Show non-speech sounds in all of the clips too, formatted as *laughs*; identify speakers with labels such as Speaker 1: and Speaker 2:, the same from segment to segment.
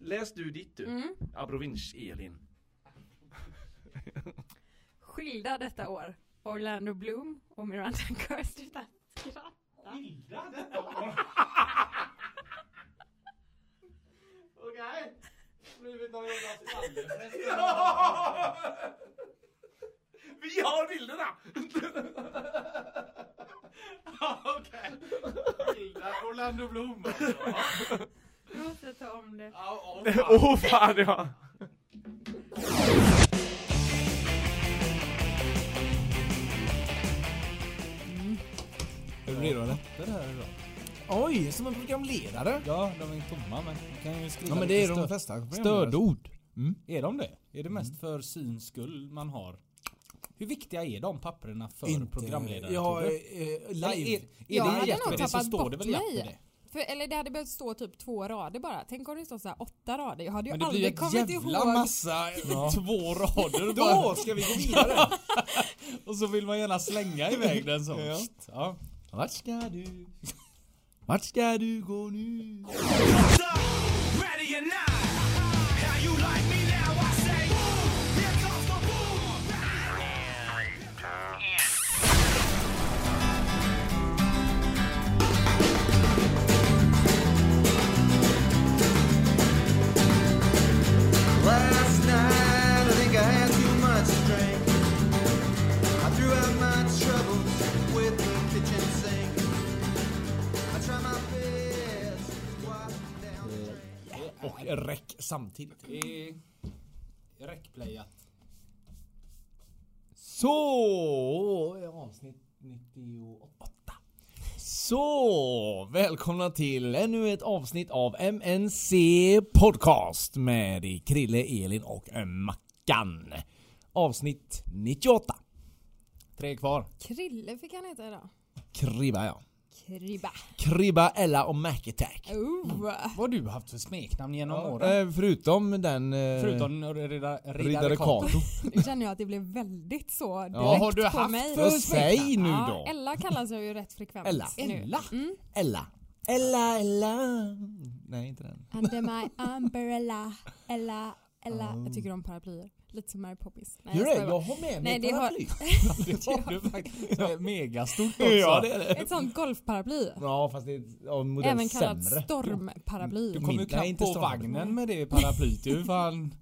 Speaker 1: Läs du ditt
Speaker 2: typ.
Speaker 1: du.
Speaker 3: Mm.
Speaker 1: Abrovinch-Elin.
Speaker 3: Skilda detta år. Orlando Bloom och
Speaker 4: *laughs*
Speaker 3: Miranda Kerr utan skratt.
Speaker 5: Skilda detta år? Okej. Blivit någon jävla skvallerfest.
Speaker 1: Vi har bilderna!
Speaker 5: Okej. Skilda Orlando Bloom.
Speaker 3: Jag måste ta om det.
Speaker 5: Ja, åh,
Speaker 1: *laughs* Åh oh,
Speaker 5: fan.
Speaker 1: fan ja!
Speaker 6: Är du redo eller?
Speaker 2: Det här idag.
Speaker 6: Oj, som en programledare!
Speaker 2: Ja, de är tomma men vi kan ju skriva
Speaker 6: Ja men
Speaker 2: lite
Speaker 6: det är de
Speaker 2: stör-
Speaker 6: flesta programledare.
Speaker 2: Stödord.
Speaker 6: Mm.
Speaker 2: Är de det? Är det mest för syns skull man har? Hur viktiga är de papperna för
Speaker 6: Inte-
Speaker 2: programledaren?
Speaker 6: Ja,
Speaker 2: tror du?
Speaker 6: eh,
Speaker 2: Eller
Speaker 6: live.
Speaker 2: är, är
Speaker 4: Jag
Speaker 2: det
Speaker 4: hade
Speaker 2: Jeopardy
Speaker 4: nog
Speaker 2: så
Speaker 4: tappat
Speaker 2: står det
Speaker 4: bort
Speaker 2: väl
Speaker 4: mig.
Speaker 2: Jeopardy?
Speaker 4: För, eller det hade behövt stå typ två rader bara. Tänk om det stod så här åtta rader. Jag hade ju
Speaker 2: Men det blir ju
Speaker 4: aldrig
Speaker 2: ett
Speaker 4: kommit
Speaker 2: jävla
Speaker 4: ihåg.
Speaker 2: *laughs* massa två rader och
Speaker 6: Då
Speaker 2: bara,
Speaker 6: ska *laughs* vi gå vidare!
Speaker 2: Och så vill man gärna slänga iväg den så.
Speaker 6: Ja.
Speaker 2: Pst, ja.
Speaker 6: Vart ska du? Vart ska du gå nu?
Speaker 7: Last night I think I had too much to drink. I threw out my troubles with the kitchen sink. I tried my best to wash them down the drain.
Speaker 6: Och räck samtidigt.
Speaker 2: Det är Räckplayat.
Speaker 6: Så, avsnitt 98. Så, välkomna till ännu ett avsnitt av MNC Podcast med Krille, Elin och Mackan. Avsnitt 98. Tre kvar.
Speaker 4: Krille fick han heta idag.
Speaker 6: Kribba ja.
Speaker 4: Kribba.
Speaker 6: Kribba, Ella och Mac Attack.
Speaker 4: Oh.
Speaker 2: Vad har du haft för smeknamn genom åren?
Speaker 6: Eh, förutom den... Eh,
Speaker 2: Förutom Riddare,
Speaker 6: Riddare Kato.
Speaker 4: Nu känner jag att det blev väldigt så direkt
Speaker 2: har du
Speaker 4: på
Speaker 2: haft
Speaker 4: mig.
Speaker 6: För sig nu då.
Speaker 4: Ja, Ella kallas jag ju rätt frekvent
Speaker 6: Ella.
Speaker 4: nu. Mm.
Speaker 6: Ella. Ella. Ella, Ella. Nej, inte den.
Speaker 4: Under my umbrella, Ella, Ella. Jag tycker om paraplyer. Lite som Mary Poppins. Nej,
Speaker 6: Gör det?
Speaker 4: skojar bara.
Speaker 6: Jag har med mig
Speaker 4: Nej, det har-
Speaker 6: paraply.
Speaker 4: *laughs*
Speaker 2: *laughs* Det har du faktiskt. Så här Megastort också.
Speaker 6: *laughs* Ja, det är det.
Speaker 4: Ett sånt golfparaply.
Speaker 6: Ja, fast det är av en modell
Speaker 4: Även kallat
Speaker 6: sämre.
Speaker 4: stormparaply.
Speaker 2: Du kommer
Speaker 6: Min-
Speaker 2: ju
Speaker 6: nej,
Speaker 2: knappt
Speaker 6: inte
Speaker 2: på
Speaker 6: stormen.
Speaker 2: vagnen med det paraplyt ju *laughs* fan.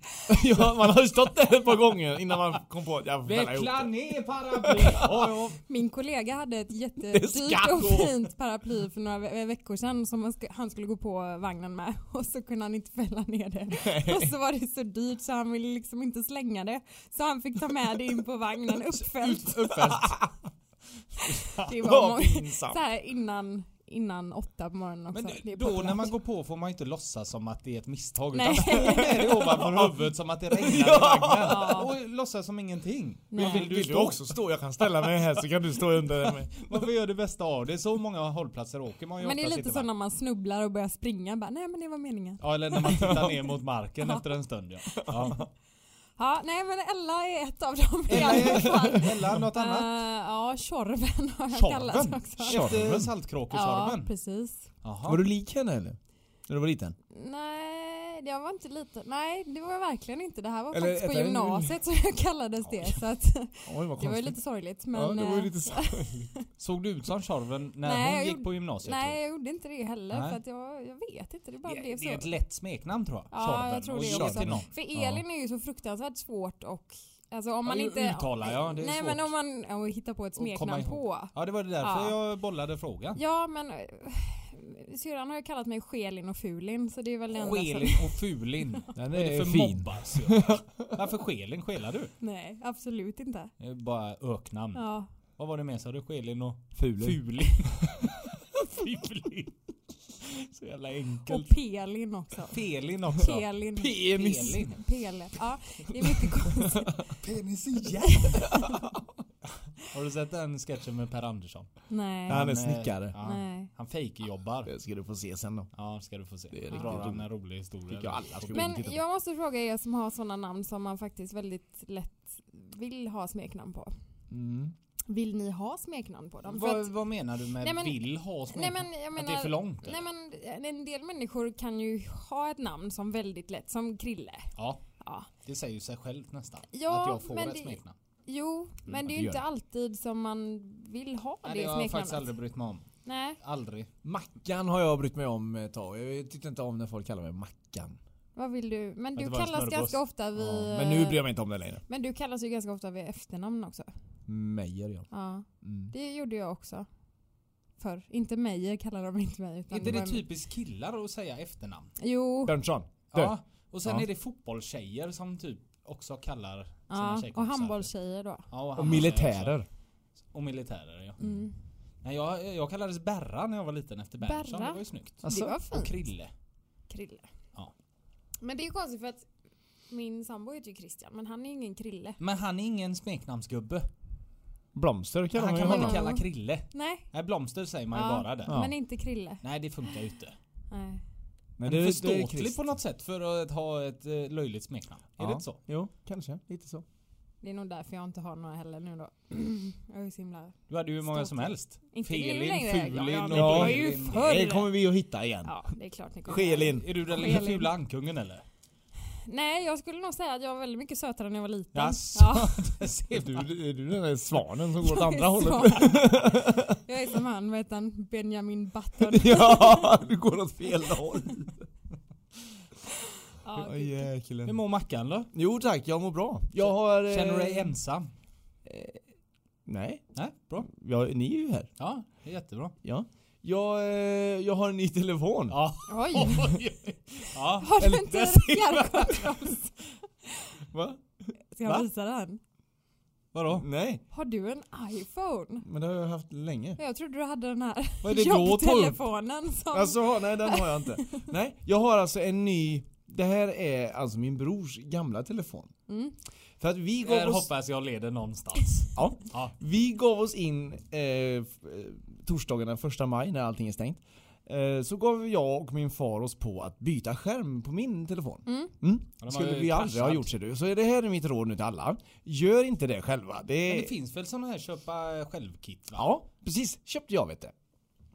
Speaker 6: ja, man har ju stått där ett par gånger innan man kom på att jag får fälla ihop
Speaker 2: Veckla
Speaker 6: det. *laughs*
Speaker 2: ner paraplyt! Ja,
Speaker 4: Min kollega hade ett
Speaker 6: ska
Speaker 4: jättedyrt och
Speaker 6: gå.
Speaker 4: fint paraply för några ve- veckor sedan som han sk- han skulle gå på vagnen med *laughs* och så kunde han inte fälla ner det. Och så var det så dyrt så han ville liksom inte slänga det. Så han fick ta med det in på vagnen uppfällt.
Speaker 2: ja. Uppfällt.
Speaker 4: Det
Speaker 2: *laughs*
Speaker 4: var
Speaker 6: Vad
Speaker 4: många,
Speaker 6: pinsamt.
Speaker 4: så här innan, innan åtta på morgonen också.
Speaker 2: Men
Speaker 4: Det är
Speaker 2: då
Speaker 4: populärt.
Speaker 2: när man går på får man ju inte låtsas som att det är ett misstag *laughs*
Speaker 4: Nej.
Speaker 2: utan står med det ovanför huvudet som att det regnar i
Speaker 4: Ja.
Speaker 2: vagnen och låtsas som ingenting.
Speaker 4: Nej.
Speaker 6: Vill, vill du också stå? Jag kan ställa mig här så kan du stå under den med.
Speaker 2: Varför gör det bästa av det? Så många hållplatser åker man ju
Speaker 4: Men det är
Speaker 2: oftast
Speaker 4: lite
Speaker 2: inte, va?
Speaker 4: så när man snubblar och börjar springa. Bara, nej men det var meningen.
Speaker 2: Ja eller när man tittar ner mot marken efter en stund ja. ja.
Speaker 4: Ja, nej men Ella är ett av dem i
Speaker 2: Ella är-
Speaker 4: alla fall.
Speaker 2: Eller något annat?
Speaker 4: Eh, ja, Tjorven har jag
Speaker 6: Tjorven?
Speaker 4: kallats också.
Speaker 2: Efter
Speaker 6: Tjorven?
Speaker 4: Ja,
Speaker 2: Saltkråkesorven?
Speaker 4: precis.
Speaker 2: Jaha.
Speaker 6: Var du lik henne eller? När du var liten?
Speaker 4: Nej, jag var inte liten. Nej, det var jag verkligen inte. Det här var
Speaker 6: Eller
Speaker 4: faktiskt på
Speaker 6: äta en-
Speaker 4: gymnasiet som jag kallades det. Så att,
Speaker 6: Oj vad
Speaker 4: det var ju
Speaker 6: konstigt.
Speaker 4: lite sorgligt.
Speaker 6: ja,
Speaker 4: Men,
Speaker 6: det var ju
Speaker 4: eh,
Speaker 6: lite
Speaker 4: *laughs*
Speaker 2: Såg du ut som Tjorven när
Speaker 4: Nej, jag
Speaker 2: hon gick
Speaker 4: gjorde-
Speaker 2: på gymnasiet?
Speaker 4: nej, jag gjorde inte det heller.
Speaker 2: Nej.
Speaker 4: För att jag, jag vet inte, det bara
Speaker 2: Det,
Speaker 4: blev
Speaker 2: det är ett
Speaker 4: så.
Speaker 2: lätt smeknamn tror jag.
Speaker 4: Ja, jag tror
Speaker 2: och
Speaker 4: det
Speaker 2: gör till någon.
Speaker 4: också. För Elin är ju så fruktansvärt svårt och... Alltså om man
Speaker 2: Ja,
Speaker 4: inte...
Speaker 2: uttala, ja, det är
Speaker 4: nej,
Speaker 2: svårt.
Speaker 4: men om man ja, och hittar på ett
Speaker 2: Och komma
Speaker 4: smeknamn
Speaker 2: ihåg.
Speaker 4: på.
Speaker 2: Ja det var det därför
Speaker 4: Ja.
Speaker 2: jag bollade frågan.
Speaker 4: Ja, men... eh, Syrran har ju kallat mig Skelin och Fulin, så det är väl det enda som-
Speaker 2: Skelin och Fulin.
Speaker 6: Den
Speaker 2: Vad är det
Speaker 6: är
Speaker 2: för
Speaker 6: fin.
Speaker 2: mobbas? *laughs* Varför Skelin? Skelar du?
Speaker 4: Nej, absolut inte.
Speaker 2: Det är bara öknamn.
Speaker 4: Ja.
Speaker 2: Vad var det med sa du? Skelin och
Speaker 6: Ful.
Speaker 2: Fulin?
Speaker 6: *laughs*
Speaker 2: Fulin. Så jävla
Speaker 4: Och
Speaker 2: enkelt.
Speaker 4: Pelin
Speaker 2: *laughs*
Speaker 4: också.
Speaker 2: Pelin också.
Speaker 4: Pelin.
Speaker 6: Penis.
Speaker 2: Pelin.
Speaker 4: Pele. Ja, det är mycket konstigt.
Speaker 2: *laughs*
Speaker 6: Penis igen.
Speaker 2: Har du sett den sketchen med Per Andersson?
Speaker 4: Nej.
Speaker 6: Han är
Speaker 2: eh,
Speaker 6: snickare.
Speaker 2: Ja,
Speaker 4: Nej.
Speaker 2: Han fejkjobbar.
Speaker 6: Det ska du få se sen då.
Speaker 2: Ja, ska du få se.
Speaker 6: Det är
Speaker 2: Drar
Speaker 6: riktigt
Speaker 2: han
Speaker 6: roligt.
Speaker 2: en rolig historia.
Speaker 6: Tycker jag alla ska gå in och
Speaker 4: Men
Speaker 6: titta på.
Speaker 4: jag måste fråga er som har sådana namn som man faktiskt väldigt lätt vill ha smeknamn på.
Speaker 6: Mm.
Speaker 4: Vill ni ha smeknamn på dem? För
Speaker 2: Vad,
Speaker 4: att-
Speaker 2: vad menar du med
Speaker 4: Nej, men-
Speaker 2: vill ha
Speaker 4: Nej
Speaker 2: smeknamn?
Speaker 4: men jag menar,
Speaker 2: att det är för långt? eller?
Speaker 4: Nej men en del människor kan ju ha ett namn som väldigt lätt, som Krille.
Speaker 2: ja,
Speaker 4: Ja.
Speaker 2: det säger ju sig självt nästan.
Speaker 4: Ja,
Speaker 2: att jag får
Speaker 4: men
Speaker 2: ett
Speaker 4: det-
Speaker 2: smeknamn. Mm,
Speaker 4: Jo, men det är
Speaker 6: det
Speaker 4: ju
Speaker 6: gör
Speaker 4: inte alltid som man vill ha
Speaker 2: Nej,
Speaker 4: det
Speaker 2: det har jag
Speaker 4: smeknamnet.
Speaker 2: faktiskt aldrig brytt mig om.
Speaker 4: Nej.
Speaker 2: Aldrig.
Speaker 6: Mackan har jag brytt mig om ett tag. Jag tyckte inte om när folk kallar mig Mackan.
Speaker 4: Vad vill du? Men
Speaker 2: det
Speaker 4: du
Speaker 2: var en
Speaker 4: kallas
Speaker 2: smörgås.
Speaker 4: ganska ofta vid... eh,
Speaker 6: Ja, men nu bryr jag mig inte om det längre.
Speaker 4: men du kallas ju ganska ofta vid efternamn också.
Speaker 6: Meijer ja.
Speaker 4: Ja,
Speaker 6: Mm.
Speaker 4: det gjorde jag också. Förr. Inte Meijer kallar de inte mig.
Speaker 2: Är
Speaker 4: Utan
Speaker 2: inte
Speaker 4: det
Speaker 2: det typ
Speaker 4: var-
Speaker 2: typiskt killar att säga efternamn?
Speaker 4: Jo.
Speaker 6: Berntsson. Du.
Speaker 2: Ja. Och sen
Speaker 6: Ja.
Speaker 2: är det fotbollstjejer som typ också kallar sina
Speaker 4: Ja, och
Speaker 2: tjejkompisar. typ.
Speaker 4: handbollstjejer då.
Speaker 2: Ja, och
Speaker 6: Och
Speaker 2: handbollstjejer också.
Speaker 6: militärer.
Speaker 2: Och militärer ja.
Speaker 4: Mm.
Speaker 2: Nej, jag, jag kallades Berra när jag var liten efter Berntsson.
Speaker 4: Berra?
Speaker 2: Det var ju snyggt.
Speaker 6: Alltså,
Speaker 4: det var
Speaker 2: Och
Speaker 4: fint.
Speaker 2: Krille.
Speaker 4: Krille.
Speaker 2: Ja.
Speaker 4: Men det är ju konstigt för att min sambo heter ju Christian men han är ingen Krille.
Speaker 2: Men han är ingen smeknamnsgubbe.
Speaker 6: Blomster kallar
Speaker 2: han
Speaker 6: man ju
Speaker 2: kan man
Speaker 6: honom.
Speaker 2: inte
Speaker 4: honom.
Speaker 2: kalla Krille.
Speaker 4: Nej,
Speaker 2: Nej, blomster säger man ju
Speaker 4: Ja.
Speaker 2: bara där.
Speaker 6: Ja.
Speaker 4: men inte Krille.
Speaker 2: Nej, det funkar ju inte.
Speaker 4: Nej.
Speaker 6: Men
Speaker 2: Men
Speaker 6: det,
Speaker 2: det,
Speaker 6: det är
Speaker 2: förståtlig
Speaker 6: Christ.
Speaker 2: på något sätt för att ha ett eh, löjligt smeknamn. Är
Speaker 6: Ja.
Speaker 2: det inte så?
Speaker 6: Jo, kanske. Lite så.
Speaker 4: Det är nog därför jag inte har några heller nu då. *clears throat* jag är ju så himla...
Speaker 2: Du hade ju hur många som
Speaker 4: Ståtlig.
Speaker 2: helst.
Speaker 4: Inte nu
Speaker 2: Felin,
Speaker 4: längre.
Speaker 2: Fulin
Speaker 4: Ja, ja,
Speaker 2: och
Speaker 4: men det var
Speaker 2: Elin.
Speaker 4: ju förr.
Speaker 6: Det kommer vi att hitta igen.
Speaker 4: Ja, det är klart ni kommer.
Speaker 6: Skelin.
Speaker 2: Är du den lilla
Speaker 4: Elin.
Speaker 2: fula ankungen eller?
Speaker 4: Nej, jag skulle nog säga att jag var väldigt mycket sötare när jag var liten.
Speaker 2: Jaså?
Speaker 4: Ja.
Speaker 2: *laughs* det ser
Speaker 6: Är
Speaker 2: du.
Speaker 6: du, är du den där svanen *laughs* som går åt andra
Speaker 4: Jag är
Speaker 6: hållet?
Speaker 4: så- *laughs* Jag är som han, vad heter han? Benjamin Button.
Speaker 6: *laughs* ja, du går åt fel håll.
Speaker 4: Ja,
Speaker 6: Oj,
Speaker 2: Hur
Speaker 6: jäkelen.
Speaker 2: mår Mackan då?
Speaker 6: Jo tack, jag mår bra. Jag har... eh,
Speaker 2: Känner du dig ensam?
Speaker 6: Nej,
Speaker 2: Nej, bra.
Speaker 6: ja, ni är ju här.
Speaker 2: Ja, det är jättebra.
Speaker 6: Ja. Jag, eh, jag har en ny telefon.
Speaker 2: Ja. *laughs*
Speaker 4: Oj,
Speaker 2: ja.
Speaker 4: har du
Speaker 6: Eller-
Speaker 4: inte
Speaker 6: *laughs*
Speaker 4: fjärrkontroll?
Speaker 6: Va?
Speaker 4: Ska jag
Speaker 6: Va?
Speaker 4: visa den?
Speaker 2: Vadå?
Speaker 6: Nej,
Speaker 4: Har du en iPhone?
Speaker 6: men det har jag haft länge.
Speaker 4: Jag trodde du hade den här
Speaker 6: Vad är det då att ta upp?
Speaker 4: jobbtelefonen som...
Speaker 6: Alltså, nej den har jag inte. Nej, jag har alltså en ny... Det här är alltså min brors gamla telefon.
Speaker 4: Mm.
Speaker 6: För att vi gav
Speaker 2: Där
Speaker 6: oss...
Speaker 2: hoppas jag leder någonstans.
Speaker 6: Ja.
Speaker 2: Ja.
Speaker 6: Vi gav oss in eh, f- eh, torsdagen den första maj när allting är stängt. Eh, så gav jag och min far oss på att byta skärm på min telefon.
Speaker 4: Mm.
Speaker 2: Ja, de har
Speaker 6: Skulle
Speaker 2: ju
Speaker 6: vi aldrig ha
Speaker 2: kraschat.
Speaker 6: gjort ser du. Så det här är mitt råd nu till alla. Gör inte det själva. Det,
Speaker 2: Men det finns väl såna här köpa självkit? Va?
Speaker 6: Ja, precis. Köpte jag vet du.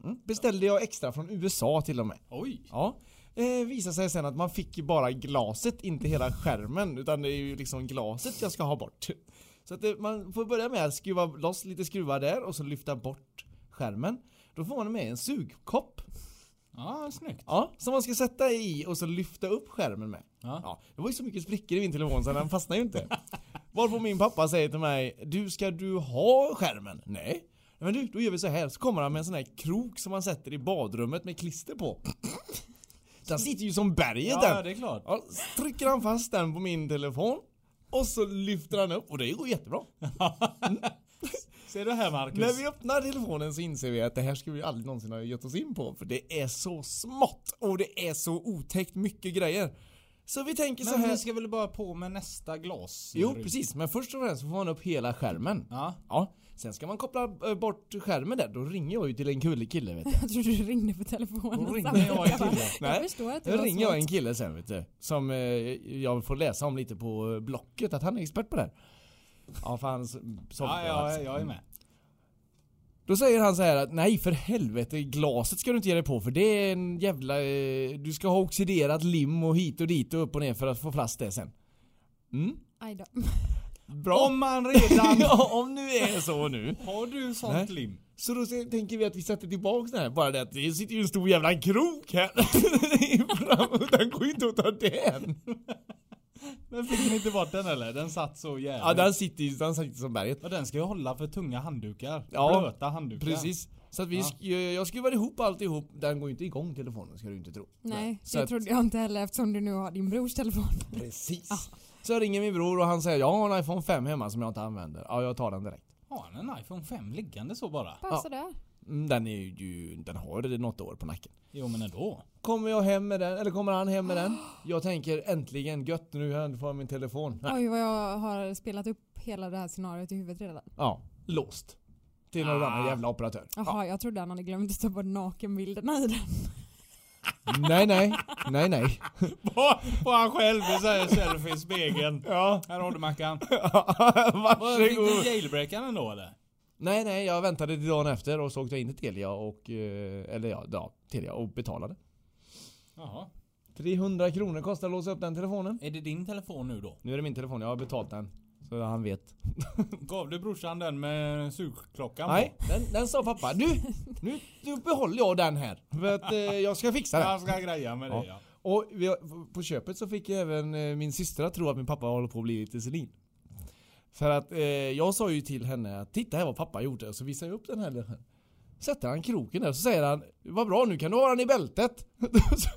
Speaker 6: Mm. Beställde jag extra från USA till och med.
Speaker 2: Oj.
Speaker 6: Ja. Eh, visar sig sen att man fick ju bara glaset, inte hela skärmen. Utan det är ju liksom glaset jag ska ha bort. Så att det, man får börja med att skruva loss lite skruvar där och så lyfta bort skärmen. Då får man med en sugkopp.
Speaker 2: Ja, snyggt.
Speaker 6: Ja, som man ska sätta i och så lyfta upp skärmen med.
Speaker 2: Ja.
Speaker 6: Ja, det var ju så mycket sprickor i min telefon så den fastnade ju
Speaker 2: *laughs*
Speaker 6: inte. Varpå min pappa säger till mig, du ska du ha skärmen? Nej. Men du, då gör vi så här. Så kommer han med en sån här krok som man sätter i badrummet med klister
Speaker 2: *laughs*
Speaker 6: på. Den sitter ju som berget
Speaker 2: Ja,
Speaker 6: den.
Speaker 2: det är klart.
Speaker 6: Ja, så trycker han fast den på min telefon. Och så lyfter han upp och det går jättebra.
Speaker 2: Ser du här Marcus?
Speaker 6: När vi öppnar telefonen så inser vi att det här skulle vi aldrig någonsin ha gett oss in på. För det är så smått och det är så otäckt mycket grejer. Så vi tänker så
Speaker 2: Men
Speaker 6: här.
Speaker 2: vi ska väl bara på med nästa glas?
Speaker 6: Jo precis, men först och främst så får man upp hela skärmen.
Speaker 2: Ja.
Speaker 6: Ja. Sen ska man koppla eh, bort skärmen där, då ringer jag ju till en kul kille vet du.
Speaker 4: Jag trodde du ringde på telefonen.
Speaker 2: Då ringer
Speaker 4: samtidigt.
Speaker 2: jag en kille.
Speaker 4: *laughs* Jag
Speaker 6: Nej.
Speaker 4: förstår att det
Speaker 6: Då
Speaker 4: var
Speaker 6: ringer jag en
Speaker 4: svårt.
Speaker 6: kille sen vet du. Som eh, jag får läsa om lite på eh, Blocket, att han är expert på det här. Ja för han s- sålde
Speaker 2: Ja,
Speaker 6: det
Speaker 2: ja,
Speaker 6: alltså.
Speaker 2: jag är med.
Speaker 6: Då säger han så här att nej för helvete glaset ska du inte ge dig på för det är en jävla... Eh, du ska ha oxiderat lim och hit och dit och upp och ner för att få plast det sen. Mm,
Speaker 4: Aj då.
Speaker 6: bra.
Speaker 2: Om man
Speaker 6: *laughs*
Speaker 2: redan...
Speaker 6: ja, om nu är så nu.
Speaker 2: Har du sånt
Speaker 6: Nej.
Speaker 2: lim?
Speaker 6: *laughs* Så då se- tänker vi att vi sätter tillbaks den här. Bara det att det sitter ju en stor jävla krok här. *laughs* Fram- den går ju inte att ta den.
Speaker 2: Men fick ni inte bort den eller? Den satt så jävligt.
Speaker 6: Ja den sitter ju den sitter som berget.
Speaker 2: Och den ska ju hålla för tunga handdukar.
Speaker 6: Ja,
Speaker 2: Blöta handdukar.
Speaker 6: Precis. Så att vi
Speaker 2: Ja.
Speaker 6: sk- jag skruvar ihop alltihop. Den går ju inte igång telefonen ska du inte tro.
Speaker 4: Nej,
Speaker 6: Så
Speaker 4: det
Speaker 6: att-
Speaker 4: trodde jag inte heller eftersom du nu har din brors telefon.
Speaker 6: Precis. Så jag ringer min bror och han säger jag har en iPhone 5 hemma som jag inte använder. Ja, jag tar den direkt.
Speaker 2: Har han en iPhone 5 liggande så bara?
Speaker 4: Bara
Speaker 6: Ja.
Speaker 4: sådär.
Speaker 6: Mm, Den är ju, den har det något år på nacken.
Speaker 2: Jo men ändå.
Speaker 6: *laughs* Kommer jag hem med den, eller kommer han hem med den? Jag tänker äntligen gött nu får jag min telefon. Nej.
Speaker 4: Oj vad jag har spelat upp hela det här scenariot i huvudet redan.
Speaker 6: Ja, låst. Till någon
Speaker 2: Ah.
Speaker 6: annan jävla operatör. Ja.
Speaker 4: Jaha, jag trodde han hade glömt att ta bort nakenbilderna i den.
Speaker 6: Nej, nej, nej, nej.
Speaker 2: På han själv och säger selfie i spegeln.
Speaker 6: Ja, *laughs*
Speaker 2: Här har du Mackan. Vad, Fick
Speaker 6: varsågod.
Speaker 2: du jailbreakaren då eller?
Speaker 6: Nej, nej, jag väntade till dagen efter och så åkte jag in till Telia och... eh, Eller ja, ja Telia och betalade.
Speaker 2: Jaha.
Speaker 6: 300 kronor kostar att låsa upp den telefonen.
Speaker 2: Är det din telefon nu då?
Speaker 6: Nu är det min telefon, jag har betalt den. Så han vet.
Speaker 2: Gav du brorsan den med sugklockan
Speaker 6: Nej, den, den sa pappa. Du, nu, nu behåller jag den här. För att eh, jag ska
Speaker 2: på?
Speaker 6: fixa den.
Speaker 2: Jag ska greja med det ja.
Speaker 6: Och vi, har- på köpet så fick jag även eh, min syster att tro att min pappa håller på att bli lite senil. För att eh, jag sa ju till henne att titta här vad pappa gjorde och så visade jag upp den här. lilla. Sätter han kroken där och så säger han vad bra nu kan du ha den i bältet. *laughs* så,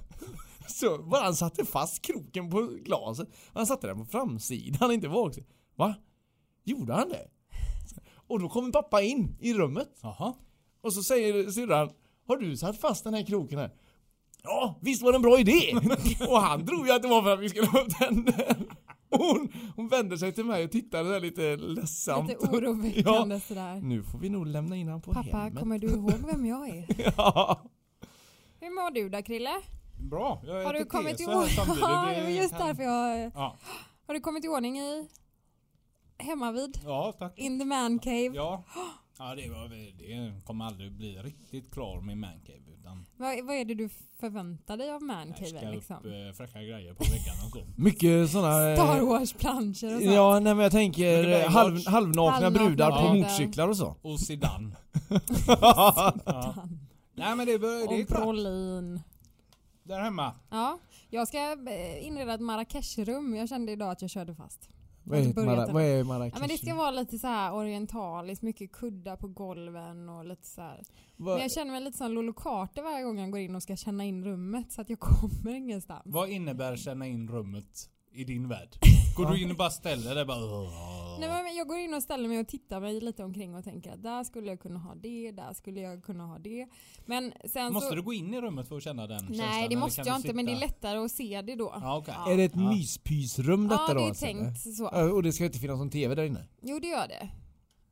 Speaker 6: så bara han satte fast kroken på glaset. Han satte den på framsidan, inte baksidan. Va? Gjorde han det? Och då kommer pappa in i rummet.
Speaker 2: Jaha.
Speaker 6: Och så säger syrran Har du satt fast den här kroken här? Ja, visst var det en bra idé! *laughs* och han drog ju att det var för att vi skulle ha upp den *laughs* där. Och hon, hon vände sig till mig och tittade där lite ledsamt.
Speaker 4: Lite oroväckande sådär.
Speaker 6: Nu får vi nog lämna in han på
Speaker 4: Pappa,
Speaker 6: hemmet.
Speaker 4: kommer du ihåg vem jag är?
Speaker 6: *laughs* Ja.
Speaker 4: Hur mår du då Krille?
Speaker 2: Bra. Jag
Speaker 4: Har du
Speaker 2: äter
Speaker 4: kommit
Speaker 2: te
Speaker 4: i
Speaker 2: så här
Speaker 4: ordning?
Speaker 2: samtidigt.
Speaker 4: Ja,
Speaker 2: Det
Speaker 4: det var just
Speaker 2: kan-
Speaker 4: därför jag...
Speaker 2: Ja.
Speaker 4: Har du kommit i ordning i... Hemma vid?
Speaker 2: Ja, tack.
Speaker 4: In the man cave?
Speaker 2: Ja. Ja, det, var, väl- det kommer aldrig bli riktigt klar med mancave utan
Speaker 4: Vad, vad är det du förväntar dig av man
Speaker 2: här
Speaker 4: cave
Speaker 2: ska upp
Speaker 4: liksom?
Speaker 2: eh, fräcka grejer på väggarna och så.
Speaker 6: Mycket sådana... eh,
Speaker 4: Star Wars-planscher och sånt?
Speaker 6: Ja, nej men jag tänker
Speaker 2: Mycket
Speaker 6: eh, halv, halvnakna
Speaker 4: Halvnakna
Speaker 6: brudar på
Speaker 4: brudar.
Speaker 6: motorcyklar och så.
Speaker 4: *laughs*
Speaker 2: Och sedan. ja. Nej men det, bör- det är
Speaker 4: Och
Speaker 2: klart.
Speaker 4: Brolin.
Speaker 2: Där hemma.
Speaker 4: Ja, jag ska eh, inreda ett Marrakech-rum. Jag kände idag att jag körde fast.
Speaker 6: Vad är,
Speaker 4: Inte börjat
Speaker 6: Mara,
Speaker 4: än.
Speaker 6: vad är Marrakesh?
Speaker 4: Ja, men det ska vara lite så här orientaliskt, mycket kuddar på golven och lite så här. Men
Speaker 6: Vad-
Speaker 4: jag känner mig lite som Lolo Carter varje gång jag går in och ska känna in rummet så att jag *laughs* kommer ingenstans.
Speaker 2: Vad innebär känna in rummet i din värld?
Speaker 4: *laughs*
Speaker 2: Går du in och bara ställer dig bara...
Speaker 4: Nej, men jag går in och ställer mig och tittar mig lite omkring och tänker att där skulle jag kunna ha det, där skulle jag kunna ha det. Men sen
Speaker 2: Måste
Speaker 4: så...
Speaker 2: du gå in i rummet för att känna den känslan?
Speaker 4: alltså- Nej, det
Speaker 2: eller
Speaker 4: måste
Speaker 2: kan
Speaker 4: jag
Speaker 2: du
Speaker 4: inte men det är
Speaker 2: sitta-
Speaker 4: lättare att se det då.
Speaker 2: Ja, okej.
Speaker 4: Ja.
Speaker 6: Är det ett
Speaker 2: Ja.
Speaker 6: myspysrum detta
Speaker 4: Ja,
Speaker 6: då?
Speaker 4: det är
Speaker 6: alltså, eller?
Speaker 4: tänkt så.
Speaker 6: Ja, Och det ska inte finnas någon TV där inne?
Speaker 4: Jo, det gör det.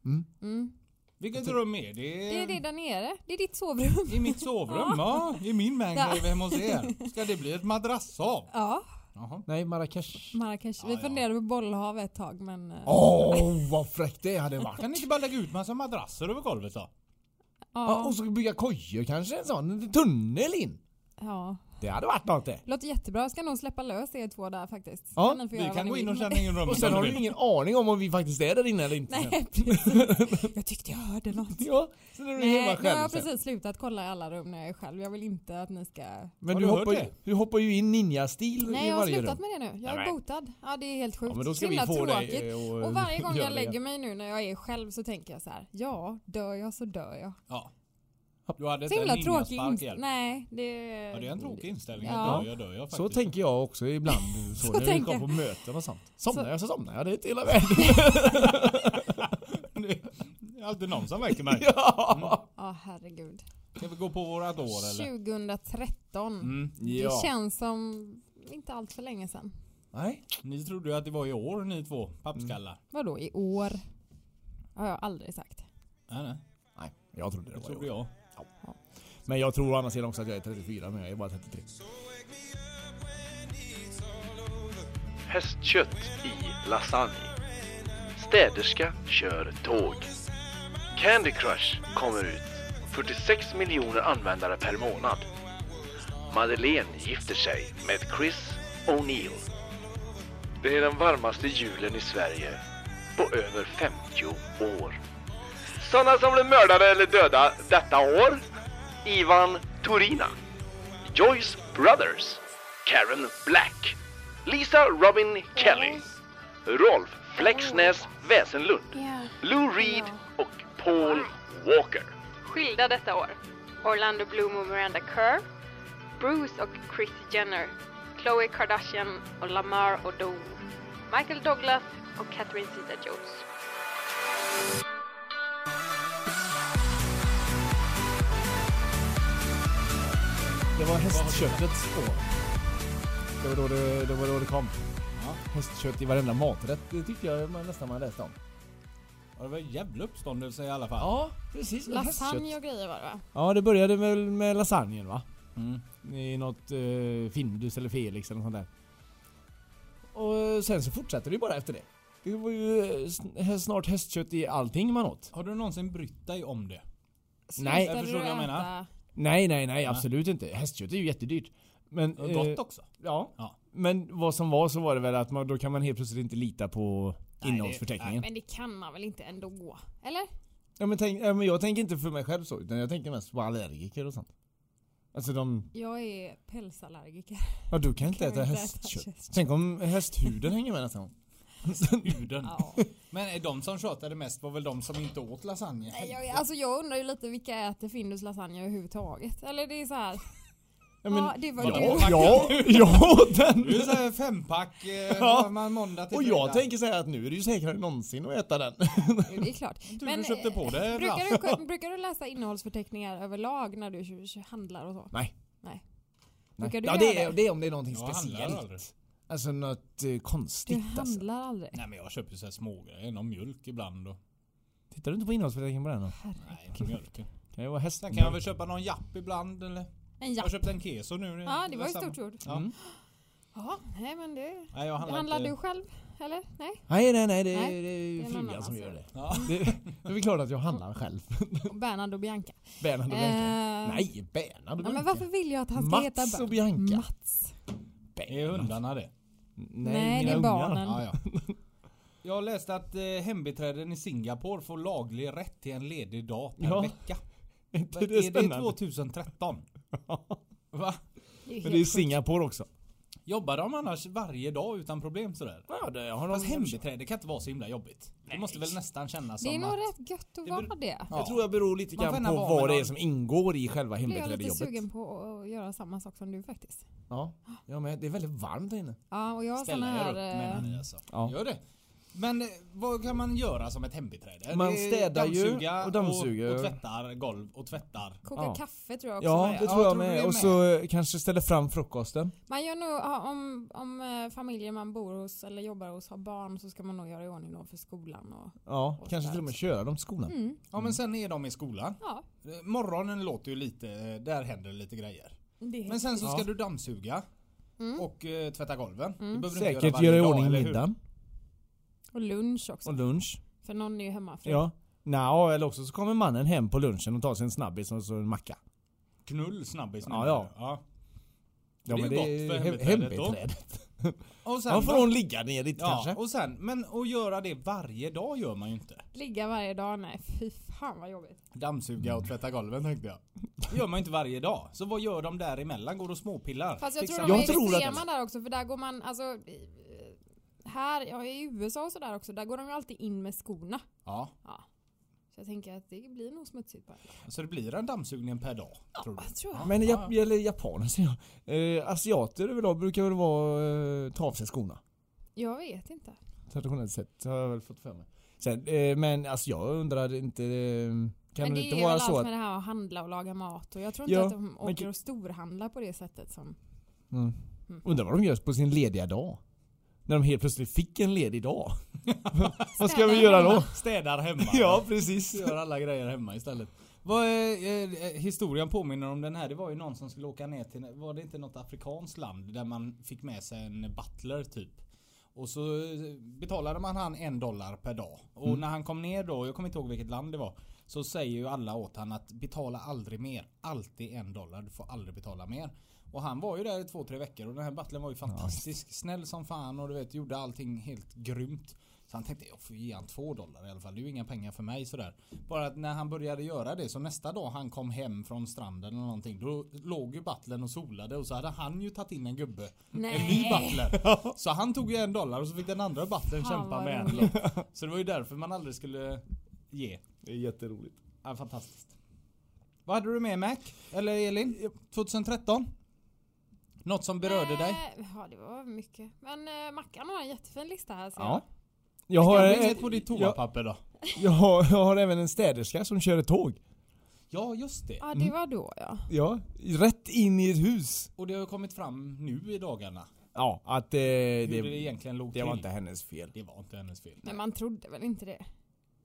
Speaker 6: Mm.
Speaker 4: Mm.
Speaker 2: Vilket rum är det?
Speaker 4: Det är det där nere. Det är ditt
Speaker 2: *laughs*
Speaker 4: sovrum.
Speaker 2: I mitt sovrum? ja. I min mancave hemma hos er. Ska det bli ett madrass av?
Speaker 4: Ja,
Speaker 2: Jaha.
Speaker 6: Nej, Marrakesh.
Speaker 4: Marrakesh.
Speaker 2: Ja,
Speaker 4: Vi
Speaker 2: ja.
Speaker 4: funderade på bollhav ett tag men... eh,
Speaker 6: Åh, vad fräckt det hade varit!
Speaker 2: Kan ni inte bara lägga ut massa madrasser över golvet då?
Speaker 6: Ja,
Speaker 4: Ja.
Speaker 6: och så bygga kojor kanske, en sån en tunnel in.
Speaker 4: ja.
Speaker 6: Det hade varit något det.
Speaker 4: Låter jättebra. Jag ska nog släppa lös er två där faktiskt.
Speaker 6: Ja,
Speaker 4: Kan ni få
Speaker 2: Vi
Speaker 4: göra vad
Speaker 2: kan
Speaker 4: ni
Speaker 2: gå in
Speaker 4: vill,
Speaker 2: och
Speaker 4: men-
Speaker 2: känna in rummet.
Speaker 6: Och sen
Speaker 2: om
Speaker 6: har
Speaker 2: ni
Speaker 6: du
Speaker 2: vill.
Speaker 6: ingen aning om om vi faktiskt är där inne eller inte. sen.
Speaker 4: *laughs* Nej, precis. Jag tyckte jag hörde
Speaker 2: *laughs*
Speaker 4: något.
Speaker 6: *laughs* Ja, sen är du hemma
Speaker 4: Nej, nu har
Speaker 6: själv
Speaker 4: jag
Speaker 6: sen.
Speaker 4: precis slutat kolla i alla rum när jag är själv. Jag vill inte att ni ska...
Speaker 6: Men
Speaker 2: Har
Speaker 6: du
Speaker 2: du hört
Speaker 6: hoppar, ju,
Speaker 2: det?
Speaker 6: du hoppar ju in ninja-stil
Speaker 4: Nej,
Speaker 6: i
Speaker 4: jag har
Speaker 6: varje
Speaker 4: slutat
Speaker 6: rum.
Speaker 4: med det nu. Jag är
Speaker 6: Nej.
Speaker 4: botad. Ja, det är helt sjukt.
Speaker 6: Ja, men då ska
Speaker 4: Så
Speaker 6: vi
Speaker 4: himla
Speaker 6: få
Speaker 4: tråkigt.
Speaker 6: dig eh,
Speaker 4: Och varje gång
Speaker 6: göra
Speaker 4: jag
Speaker 6: det.
Speaker 4: lägger mig nu när jag är själv så tänker jag så här. Ja, dör jag så dör jag.
Speaker 2: Ja. Du hade
Speaker 4: Så
Speaker 2: inte
Speaker 4: himla
Speaker 2: en
Speaker 4: tråkig
Speaker 2: ninjaspark
Speaker 4: inställning.
Speaker 2: heller.
Speaker 4: Nej, det...
Speaker 2: Ja, det är en tråkig inställning.
Speaker 4: Ja.
Speaker 2: Jag dör, jag dör jag
Speaker 6: Så
Speaker 2: faktiskt.
Speaker 6: tänker jag också ibland
Speaker 4: *laughs*
Speaker 6: så,
Speaker 4: Så
Speaker 6: när vi
Speaker 4: tänker
Speaker 6: går på
Speaker 4: jag.
Speaker 6: möten och sånt. Somnar
Speaker 4: Så-
Speaker 6: jag så somnar jag, det är inte hela världen.
Speaker 2: *laughs* Det är alltid någon som väcker mig.
Speaker 6: *laughs*
Speaker 2: Mm.
Speaker 6: Ja.
Speaker 4: Ja, herregud.
Speaker 2: Ska vi gå på vårat år eller?
Speaker 4: 2013.
Speaker 2: Mm.
Speaker 6: Ja.
Speaker 4: Det känns som inte allt för länge sedan.
Speaker 6: Nej.
Speaker 2: Ni trodde ju att det var i år ni två pappskallar.
Speaker 4: Vadå i år? Har jag aldrig sagt.
Speaker 2: Nej, nej.
Speaker 6: Mm. Nej, jag trodde det
Speaker 2: Det
Speaker 6: var
Speaker 2: trodde
Speaker 6: jag.
Speaker 2: jag.
Speaker 6: Men jag tror å andra sidan också att jag är 34 men jag är bara 33.
Speaker 8: Hästkött i lasagne. Städerska kör tåg. Candy Crush kommer ut. 46 miljoner användare per månad. Madeleine gifter sig med Chris O'Neill. Det är den varmaste julen i Sverige på över 50 år. Sådana som blev mördade eller döda detta år? Ivan Turina. Joyce Brothers, Karen Black, Lisa Robin Kelly, Rolf Flexnäs Väsenlund, Lou Reed och Paul Walker.
Speaker 9: skilda detta år. Orlando Bloom och Miranda Kerr. Bruce och Chris Jenner. Khloe Kardashian och Lamar Odom. Michael Douglas och Catherine Zeta-Jones.
Speaker 6: Det var hästköttets år. Det var då det, det, var då det kom. Hästkött i varenda maträtt, det tyckte jag man, nästan man läste om.
Speaker 2: Ja, det var en jävla uppståndelse i alla fall.
Speaker 6: Ja, precis.
Speaker 4: Lasagne och grejer var det va?
Speaker 6: Ja, det började väl med lasagnen va?
Speaker 2: Mm.
Speaker 6: I något eh, Findus eller Felix eller något sånt där. Och sen så eh, fortsatte det ju bara efter det. Det var ju eh, sn- snart hästkött i allting man åt.
Speaker 2: Har du någonsin brytt dig om det?
Speaker 6: Nej.
Speaker 4: Slutar
Speaker 2: Jag
Speaker 4: du
Speaker 2: förstår vad jag
Speaker 4: äta?
Speaker 2: menar.
Speaker 6: Nej, nej, nej, absolut inte. Hästkött är ju jättedyrt. Men...
Speaker 2: Och
Speaker 6: eh, *laughs*
Speaker 2: Gott också.
Speaker 6: Ja.
Speaker 2: Ja.
Speaker 6: Men vad som var så var det väl att man, då kan man helt plötsligt inte lita på
Speaker 2: Nej, det-
Speaker 6: innehållsförteckningen.
Speaker 4: Men det kan man väl inte ändå? Eller?
Speaker 6: Ja, men tänk, ja, men jag tänker inte för mig själv så, utan jag tänker mest på allergiker och sånt. Alltså de...
Speaker 4: Jag är pälsallergiker.
Speaker 6: Ja, du kan inte
Speaker 4: Kan
Speaker 6: äta
Speaker 4: inte äta
Speaker 6: hästkött.
Speaker 4: hästkött.
Speaker 6: Tänk om hästhuden hänger med nästa gång.
Speaker 2: Huden.
Speaker 4: Ja.
Speaker 2: Men de som tjatade mest var väl de som inte åt lasagne?
Speaker 4: Nej, jag, alltså jag undrar ju lite vilka äter Findus lasagne överhuvudtaget? Eller det är så här.
Speaker 6: Ja, men,
Speaker 4: ja, det var
Speaker 2: vadå?
Speaker 4: du.
Speaker 2: Tack.
Speaker 6: ja, jag åt
Speaker 2: Du är
Speaker 6: den!
Speaker 2: såhär fempack, eh,
Speaker 6: Ja.
Speaker 2: har man måndag till
Speaker 6: Och jag
Speaker 2: fredag.
Speaker 6: tänker säga att nu är det ju säkrare än någonsin att äta den.
Speaker 4: Jo, Det är klart. eh,
Speaker 2: Du köpte på det va?
Speaker 4: brukar, du, brukar du läsa innehållsförteckningar överlag när du kö- kö- handlar och så?
Speaker 6: Nej.
Speaker 4: Nej.
Speaker 6: Nej.
Speaker 4: Brukar du
Speaker 6: Ja, det
Speaker 4: göra
Speaker 6: är, det är om det är någonting
Speaker 2: Jag handlar aldrig.
Speaker 6: speciellt. Alltså något eh,
Speaker 4: Du
Speaker 6: konstigt alltså.
Speaker 4: handlar aldrig?
Speaker 2: Nej men jag köper ju såhär smågrejer, någon mjölk ibland och...
Speaker 6: Tittar du inte på innehållsförteckningen på den då?
Speaker 2: Nej, inte mjölken.
Speaker 6: Kan jag vara häst?
Speaker 2: Sen kan jag väl köpa någon japp ibland eller?
Speaker 4: En
Speaker 2: Jag
Speaker 4: Mm. japp.
Speaker 2: köpte en keso nu.
Speaker 4: Ja, det var ju
Speaker 2: samma.
Speaker 4: stort gjort.
Speaker 2: Ja.
Speaker 6: Mm.
Speaker 4: Ja, nej men det...
Speaker 2: Nej, jag eh, handlar,
Speaker 4: Handlar
Speaker 2: inte.
Speaker 4: du själv? Eller? Nej?
Speaker 6: Nej, nej, nej. Det är,
Speaker 4: Nej,
Speaker 6: det är
Speaker 4: någon
Speaker 6: frugan
Speaker 4: annan
Speaker 6: som
Speaker 4: som
Speaker 6: gör
Speaker 4: gör
Speaker 6: det.
Speaker 2: Ja.
Speaker 6: det. Det är väl klart att jag handlar själv. *laughs*
Speaker 4: Och Bernhard och Bianca.
Speaker 6: Bernhard och Bianca.
Speaker 4: Eh,
Speaker 6: Nej, Bernhard och
Speaker 4: ja, men
Speaker 6: Bianca.
Speaker 4: varför vill jag att han ska heta
Speaker 6: Mats
Speaker 4: Ber-
Speaker 6: och Bianca.
Speaker 4: Mats.
Speaker 2: Är hundarna det?
Speaker 4: Mm.
Speaker 6: Nej,
Speaker 4: Nej, det
Speaker 6: mina
Speaker 4: är
Speaker 6: ungar.
Speaker 4: barnen.
Speaker 2: Ja, ja. Jag läste att eh, hembiträden i Singapore får laglig rätt till en ledig dag per
Speaker 4: *laughs*
Speaker 6: Ja.
Speaker 2: vecka.
Speaker 6: Är inte *laughs*
Speaker 2: Är
Speaker 6: det
Speaker 2: det
Speaker 6: spännande?
Speaker 2: 2013? Va?
Speaker 4: Det är
Speaker 6: Men
Speaker 4: helt
Speaker 6: det är
Speaker 4: sjukt.
Speaker 6: Singapore också.
Speaker 2: Jobbar de annars varje dag utan problem sådär?
Speaker 6: Ja, det har
Speaker 2: Fast hembiträde kan inte vara så himla jobbigt. Det måste väl nästan kännas som
Speaker 4: Det är nog
Speaker 2: att...
Speaker 4: rätt gött att
Speaker 2: Det är väl-
Speaker 4: vara det.
Speaker 2: Ja.
Speaker 6: Jag tror jag beror lite
Speaker 2: Man får
Speaker 6: grann på
Speaker 2: gärna vara
Speaker 6: vad
Speaker 2: med
Speaker 6: det är
Speaker 2: någon.
Speaker 6: som ingår i själva
Speaker 4: Blev jag lite
Speaker 6: hembiträdejobbet.
Speaker 4: sugen på att göra samma sak som du faktiskt.
Speaker 6: Ja, jag med. Det är väldigt varmt här inne.
Speaker 4: Ja, och jag har såna
Speaker 2: Ställa er
Speaker 4: här...
Speaker 2: upp menar
Speaker 4: eh,
Speaker 2: ni alltså.
Speaker 6: Ja.
Speaker 2: Gör det. Men eh, vad kan man göra som ett hembiträde?
Speaker 6: Man
Speaker 2: Det är
Speaker 6: städar ju
Speaker 2: dammsuga
Speaker 6: och dammsuger.
Speaker 2: Och, och tvättar golv och tvättar.
Speaker 4: Koka
Speaker 6: Ja.
Speaker 4: kaffe tror jag också var
Speaker 6: Ja,
Speaker 4: det.
Speaker 6: det
Speaker 2: Ja,
Speaker 6: tror
Speaker 2: jag
Speaker 6: jag
Speaker 2: tror det är
Speaker 6: med. Och så eh, kanske ställer fram frukosten.
Speaker 4: Man gör nog, ja, om, om eh, familjer man bor hos eller jobbar hos har barn så ska man nog göra i ordning dem för skolan och
Speaker 6: Ja,
Speaker 4: Och
Speaker 6: kanske
Speaker 4: sådär.
Speaker 6: till och med köra dem till skolan.
Speaker 4: mm,
Speaker 2: Ja men sen är de i skolan.
Speaker 4: ja.
Speaker 2: Eh, Morgonen låter ju lite, eh, där händer lite grejer.
Speaker 4: Det är
Speaker 2: Men sen så ska
Speaker 6: Ja.
Speaker 2: du dammsuga
Speaker 4: Mm.
Speaker 2: och eh, tvätta golven.
Speaker 4: Mm.
Speaker 2: Det behöver du inte
Speaker 6: Säkert
Speaker 2: varje
Speaker 6: göra i
Speaker 2: dag,
Speaker 6: ordning
Speaker 2: eller hur?
Speaker 6: middagen
Speaker 4: Och lunch också.
Speaker 6: och lunch.
Speaker 4: För någon är ju hemmafru.
Speaker 6: Ja. Nå, eller också så kommer mannen hem på lunchen och tar sig en snabbis och så en macka.
Speaker 2: Knull snabbis nu.
Speaker 6: Ja, ja.
Speaker 2: Det är ju gott för
Speaker 6: hem-
Speaker 2: hembiträdet då.
Speaker 6: *laughs*
Speaker 2: Och sen
Speaker 6: Ja, får
Speaker 2: då-
Speaker 6: hon ligga ner lite
Speaker 2: Ja,
Speaker 6: kanske.
Speaker 2: och sen, men att göra det varje dag gör man ju inte.
Speaker 4: Ligga varje dag, nej fy fan vad jobbigt.
Speaker 2: Dammsuga och tvätta golven tänkte jag. Mm. Det gör man ju inte varje dag. Så vad gör de däremellan? Går och småpillar?
Speaker 4: Fast jag tror
Speaker 2: Fixar-
Speaker 4: de
Speaker 6: Jag
Speaker 4: är
Speaker 6: tror
Speaker 4: extrema
Speaker 6: att-
Speaker 4: där också för där går man alltså i- här, ja, i USA och sådär också, där går de ju alltid in med skorna.
Speaker 2: Ja,
Speaker 4: Så jag tänker att det blir nog smutsigt bara.
Speaker 2: så det blir en dammsugning per dag. Tror du?
Speaker 4: Jag tror jag.
Speaker 6: Men jap eller japaner säger jag. Eh, asiater överlag brukar väl vara eh, ta av sig skorna.
Speaker 4: Jag vet inte.
Speaker 6: Traditionellt sett har jag väl fått för mig. Sen, eh, men alltså jag undrar inte. Eh, kan
Speaker 4: men
Speaker 6: det
Speaker 4: det
Speaker 6: inte
Speaker 4: är
Speaker 6: vara
Speaker 4: väl
Speaker 6: så
Speaker 4: allt
Speaker 6: att...
Speaker 4: med det här att handla och laga mat och jag tror inte
Speaker 6: Ja,
Speaker 4: att de
Speaker 6: men
Speaker 4: åker
Speaker 6: gud-
Speaker 4: och storhandlar på det sättet som...
Speaker 6: Mm.
Speaker 4: Mm.
Speaker 6: Undrar vad de gör på sin lediga dag. När de helt plötsligt fick en ledig
Speaker 2: *laughs*
Speaker 6: dag. vad ska vi göra då?
Speaker 2: Städar hemma.
Speaker 6: Ja precis.
Speaker 2: Gör alla grejer hemma istället. Vad är, eh, historien påminner om den här. Det var ju någon som skulle åka ner till, var det inte något afrikanskt land där man fick med sig en butler typ. Och så eh, betalade man han en dollar per dag. Och när han kom ner då, jag kommer inte ihåg vilket land det var. Så säger ju alla åt han att betala aldrig mer. Alltid en dollar, du får aldrig betala mer. Och han var ju där i två, tre veckor och den här butlern var ju fantastisk. Snäll som fan och du vet gjorde allting helt grymt. Så han tänkte jag får ge han två dollar i alla fall. Det är ju inga pengar för mig sådär. Bara att när han började göra det så nästa dag han kom hem från stranden eller någonting. Då låg ju butlern och solade och så hade han ju tagit in en gubbe. En ny
Speaker 6: *laughs*
Speaker 2: butler. Så han tog ju en dollar och så fick den andra butlern
Speaker 4: Fan,
Speaker 2: kämpa
Speaker 4: vad
Speaker 2: med en
Speaker 4: roligt.
Speaker 2: lott. Så det var ju därför man aldrig skulle ge.
Speaker 6: Det är jätteroligt.
Speaker 2: Ja, fantastiskt. Vad hade du med Mac? Eller Elin? 2013? Något som berörde dig?
Speaker 4: Eh, Ja det var mycket. Men eh, Mackan har en jättefin lista här ser
Speaker 6: Ja.
Speaker 4: jag.
Speaker 6: Jag har,
Speaker 2: Har du
Speaker 6: jag,
Speaker 2: inget på ditt
Speaker 6: jag,
Speaker 2: toapapper då?
Speaker 6: jag, har, jag har även en städerska som kör ett tåg.
Speaker 2: Ja, just det.
Speaker 4: Ja
Speaker 6: Mm.
Speaker 4: det var då ja.
Speaker 6: Ja, rätt in i ett hus.
Speaker 2: Och det har ju kommit fram nu i dagarna.
Speaker 6: Ja, att eh,
Speaker 2: Hur det,
Speaker 6: det,
Speaker 2: egentligen låg
Speaker 6: det
Speaker 2: till.
Speaker 6: var inte hennes fel.
Speaker 2: det var inte hennes fel.
Speaker 4: Men man trodde väl inte det?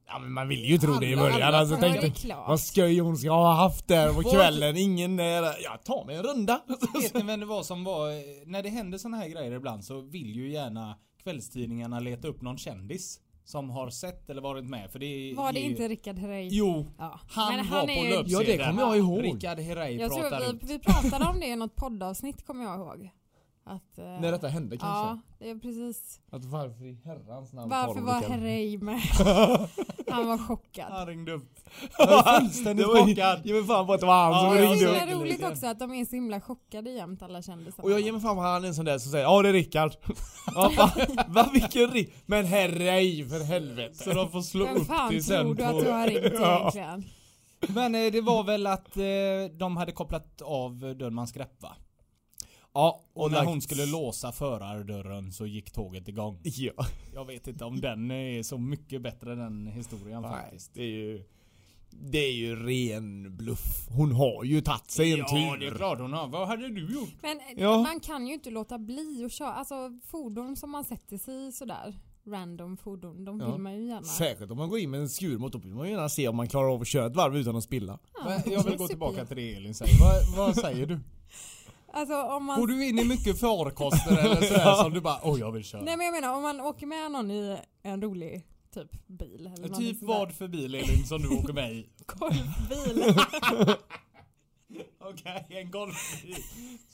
Speaker 6: Ja men man vill ju tro det i
Speaker 4: Alla-
Speaker 6: början
Speaker 4: alla
Speaker 6: alltså
Speaker 4: tror det är
Speaker 6: tänkte
Speaker 4: klart.
Speaker 6: vad sköj hon ska ha haft där på kvällen, ingen, eh, jag tar mig en runda. *laughs*
Speaker 2: Vet ni vem det var som var, eh, när det händer såna här grejer ibland så vill ju gärna kvällstidningarna leta upp någon kändis. Som har sett eller varit med för det
Speaker 4: Var det
Speaker 2: ger ju-
Speaker 4: inte Rickard Herrey?
Speaker 2: Jo,
Speaker 4: Ja.
Speaker 2: han,
Speaker 4: Men
Speaker 2: var
Speaker 4: han
Speaker 2: på
Speaker 4: är ju-
Speaker 2: löpsedeln.
Speaker 6: Ja, det kommer jag ihåg.
Speaker 2: Rickard Herrey
Speaker 4: Jag
Speaker 2: pratar
Speaker 4: tror
Speaker 2: ut.
Speaker 4: vi, vi pratade om det i något poddavsnitt kommer jag ihåg. Att, eh,
Speaker 6: När detta hände
Speaker 4: Ja,
Speaker 6: kanske?
Speaker 4: det är precis.
Speaker 6: Att varför i herrans namn
Speaker 4: Varför
Speaker 6: tar hon
Speaker 4: var
Speaker 6: *laughs* Rickard?
Speaker 4: Herrey
Speaker 2: *laughs*
Speaker 4: med? Han var chockad.
Speaker 2: Han ringde upp.
Speaker 6: Fullständigt
Speaker 2: *laughs* Det var ju-
Speaker 6: chockad! Ge mig fan på att det var han som
Speaker 2: Ja,
Speaker 4: Det är
Speaker 6: ringde
Speaker 4: så
Speaker 6: upp.
Speaker 4: himla roligt också att de är så himla chockade jämt alla kändisar.
Speaker 6: Och jag ger mig fan på han är en sån där som säger ja det är Rickard. *laughs* ja, va, va vilken Rick... Men herrej för helvete.
Speaker 2: Så de får slå
Speaker 4: Vem
Speaker 2: upp
Speaker 4: fan
Speaker 2: det sen
Speaker 4: tror du att du
Speaker 2: på...
Speaker 4: har
Speaker 2: *laughs*
Speaker 4: ringt egentligen?
Speaker 2: Men eh, det var väl att eh, de hade kopplat av eh, Dörrmans grepp va?
Speaker 6: Ja,
Speaker 2: Och, när
Speaker 6: lagt-
Speaker 2: hon skulle låsa förardörren så gick tåget igång.
Speaker 6: *laughs* Ja.
Speaker 2: Jag vet inte om den är så mycket bättre den historien
Speaker 6: Nej,
Speaker 2: faktiskt.
Speaker 6: det är ju... Det är ju ren bluff. Hon har ju tagit sig en
Speaker 2: Ja
Speaker 6: tur.
Speaker 2: det är klart hon har. Vad hade du gjort?
Speaker 4: Men eh,
Speaker 6: Ja.
Speaker 4: man kan ju inte låta bli att köra, alltså fordon som man sätter sig i sådär, random fordon, de
Speaker 6: Ja.
Speaker 4: vill man ju gärna.
Speaker 6: Särskilt om man går in med en skurmotor, då vill man ju gärna se om man klarar av att köra ett varv utan att
Speaker 2: *laughs*
Speaker 6: spilla.
Speaker 2: Men
Speaker 4: det *laughs*
Speaker 2: Jag vill
Speaker 4: är
Speaker 2: gå tillbaka
Speaker 4: supergärna.
Speaker 2: till det Elin säger. Vad, vad säger du?
Speaker 4: Alltså om man
Speaker 2: Går du in i mycket farkoster eller sådär som du bara åh jag vill köra?
Speaker 4: Nej men jag menar om man åker med någon i en rolig typ bil eller någonting
Speaker 2: typ
Speaker 4: sånt
Speaker 2: vad
Speaker 4: där.
Speaker 2: för bil Elin som du åker med i?
Speaker 4: Korvbil.
Speaker 2: *laughs* Okej, en golfbil.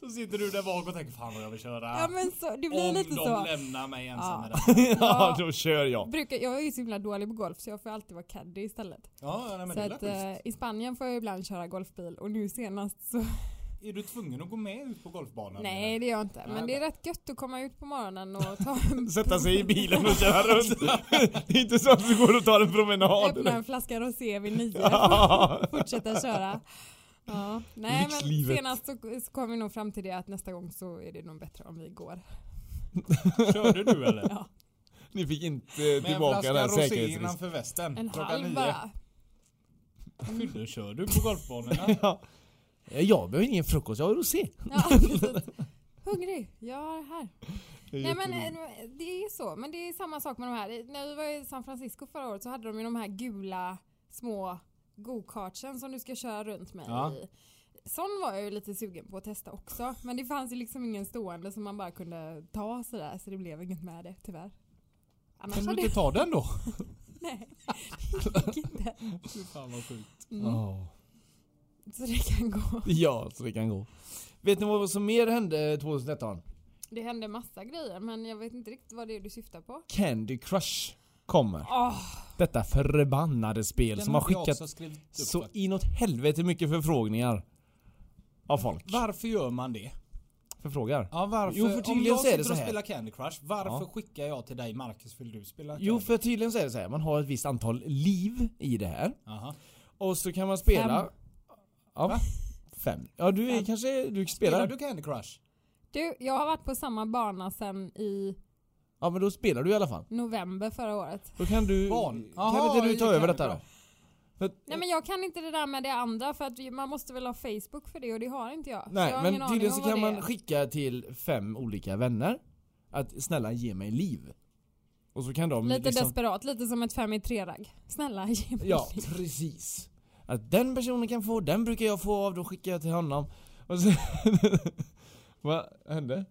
Speaker 2: Så sitter du där bak och tänker fan vad jag vill köra.
Speaker 4: ja men så, det blir
Speaker 2: Om
Speaker 4: lite
Speaker 2: de
Speaker 4: så.
Speaker 2: lämnar mig ensam
Speaker 4: Ja.
Speaker 2: med den.
Speaker 6: Ja,
Speaker 4: Ja,
Speaker 6: då kör jag.
Speaker 4: brukar, jag är ju så himla dålig på golf så jag får alltid vara caddy istället.
Speaker 2: Ja, ja, nej, men
Speaker 4: så
Speaker 2: det är
Speaker 4: att
Speaker 2: väl schysst.
Speaker 4: eh, i Spanien får jag ibland köra golfbil och nu senast så
Speaker 2: Är du tvungen att gå med ut på golfbanan?
Speaker 4: eh, Nej
Speaker 2: eller?
Speaker 4: det gör jag inte. Men
Speaker 2: Nej,
Speaker 4: det är rätt gött att komma ut på morgonen och ta
Speaker 2: *laughs*
Speaker 4: en
Speaker 6: Sätta
Speaker 4: *laughs*
Speaker 6: sig i bilen och köra runt. det är inte så att du går och tar en promenad.
Speaker 4: Öppna en flaska rosé vid nio
Speaker 6: Ja.
Speaker 4: *laughs* fortsätta köra. Ja. Nej men
Speaker 6: Lyxlivet.
Speaker 4: senast så, så kom vi nog fram till det att nästa gång så är det nog bättre om vi går.
Speaker 2: Mm. Körde du eller?
Speaker 4: Ja.
Speaker 6: Ni fick inte
Speaker 2: Med en
Speaker 6: tillbaka den här
Speaker 2: flaska rosé
Speaker 6: säkerhetsrisken.
Speaker 2: innanför västen.
Speaker 4: En
Speaker 2: klockan
Speaker 4: halv
Speaker 2: nio.
Speaker 4: bara.
Speaker 2: Fy, *laughs* nu kör du på *laughs* golfbanorna?
Speaker 6: *laughs* Ja, Eh, Jag behöver ingen frukost, jag har rosé.
Speaker 2: *laughs*
Speaker 4: Ja, precis. Hungrig? Ja, här. Nej men eh, det är så. Men det är samma sak med de här. När vi var i San Francisco förra året så hade de ju de här gula små go-kartsen som du ska köra runt med
Speaker 2: Ja.
Speaker 4: i. Sån var jag ju lite sugen på att testa också. Men det fanns ju liksom ingen stående som man bara kunde ta sådär så det blev inget med det tyvärr. Annars
Speaker 2: Kan du
Speaker 4: hade *laughs*
Speaker 2: inte ta den då?
Speaker 4: jag inte.
Speaker 2: Fy fan vad sjukt.
Speaker 4: Mm.
Speaker 6: Ja.
Speaker 4: Så det kan gå.
Speaker 6: Ja, så det kan gå. Vet ni vad som mer hände eh, 2013?
Speaker 4: Det hände massa grejer men jag vet inte riktigt vad det är du syftar på.
Speaker 6: Candy Crush kommer.
Speaker 4: Åh,
Speaker 6: Detta förbannade spel som har
Speaker 2: hade jag
Speaker 6: skickat
Speaker 2: också skrivit upp
Speaker 6: så
Speaker 2: faktiskt.
Speaker 6: inåt helvete mycket förfrågningar. Av folk.
Speaker 2: Varför gör man det?
Speaker 6: Förfrågar.
Speaker 2: Ja, varför?
Speaker 6: Jo, för
Speaker 2: Om
Speaker 6: tydligen
Speaker 2: jag
Speaker 6: så är det
Speaker 2: sitter
Speaker 6: så
Speaker 2: och
Speaker 6: här.
Speaker 2: spelar Candy Crush, varför
Speaker 6: Ja.
Speaker 2: skickar jag till dig Marcus? Vill du spela
Speaker 6: Jo,
Speaker 2: Candy?
Speaker 6: för tydligen så är det så här. Man har ett visst antal liv i det här.
Speaker 2: Aha.
Speaker 6: Och så kan man spela...
Speaker 4: Fem.
Speaker 6: Ja.
Speaker 2: Va?
Speaker 6: Fem. Ja, du är, kanske... Du
Speaker 2: Spelar
Speaker 6: spelar...
Speaker 2: du Candy Crush?
Speaker 4: Du, jag har varit på samma bana sen i
Speaker 6: Ja, men då spelar du i alla fall.
Speaker 4: november förra året.
Speaker 6: Då kan du...
Speaker 2: Barn.
Speaker 6: Kan
Speaker 2: Aha,
Speaker 6: inte du ta
Speaker 2: det
Speaker 6: över
Speaker 2: kan
Speaker 6: detta
Speaker 2: jag
Speaker 6: då?
Speaker 2: bra.
Speaker 6: För,
Speaker 4: Nej men jag kan inte det där med det andra för att vi- man måste väl ha Facebook för det och det har inte jag.
Speaker 6: nej,
Speaker 4: så jag har ingen
Speaker 6: men
Speaker 4: aning
Speaker 6: tydligen
Speaker 4: om
Speaker 6: så
Speaker 4: vad
Speaker 6: kan
Speaker 4: det
Speaker 6: man
Speaker 4: är.
Speaker 6: skicka till fem olika vänner. Att snälla ge mig liv. Och så kan de
Speaker 4: Lite
Speaker 6: liksom...
Speaker 4: desperat, lite som ett fem i tre-ragg. Snälla ge mig
Speaker 6: Ja,
Speaker 4: det.
Speaker 6: precis. Att den personen kan få, den brukar jag få av, då skickar jag till honom. Och så... *laughs* Vad hände?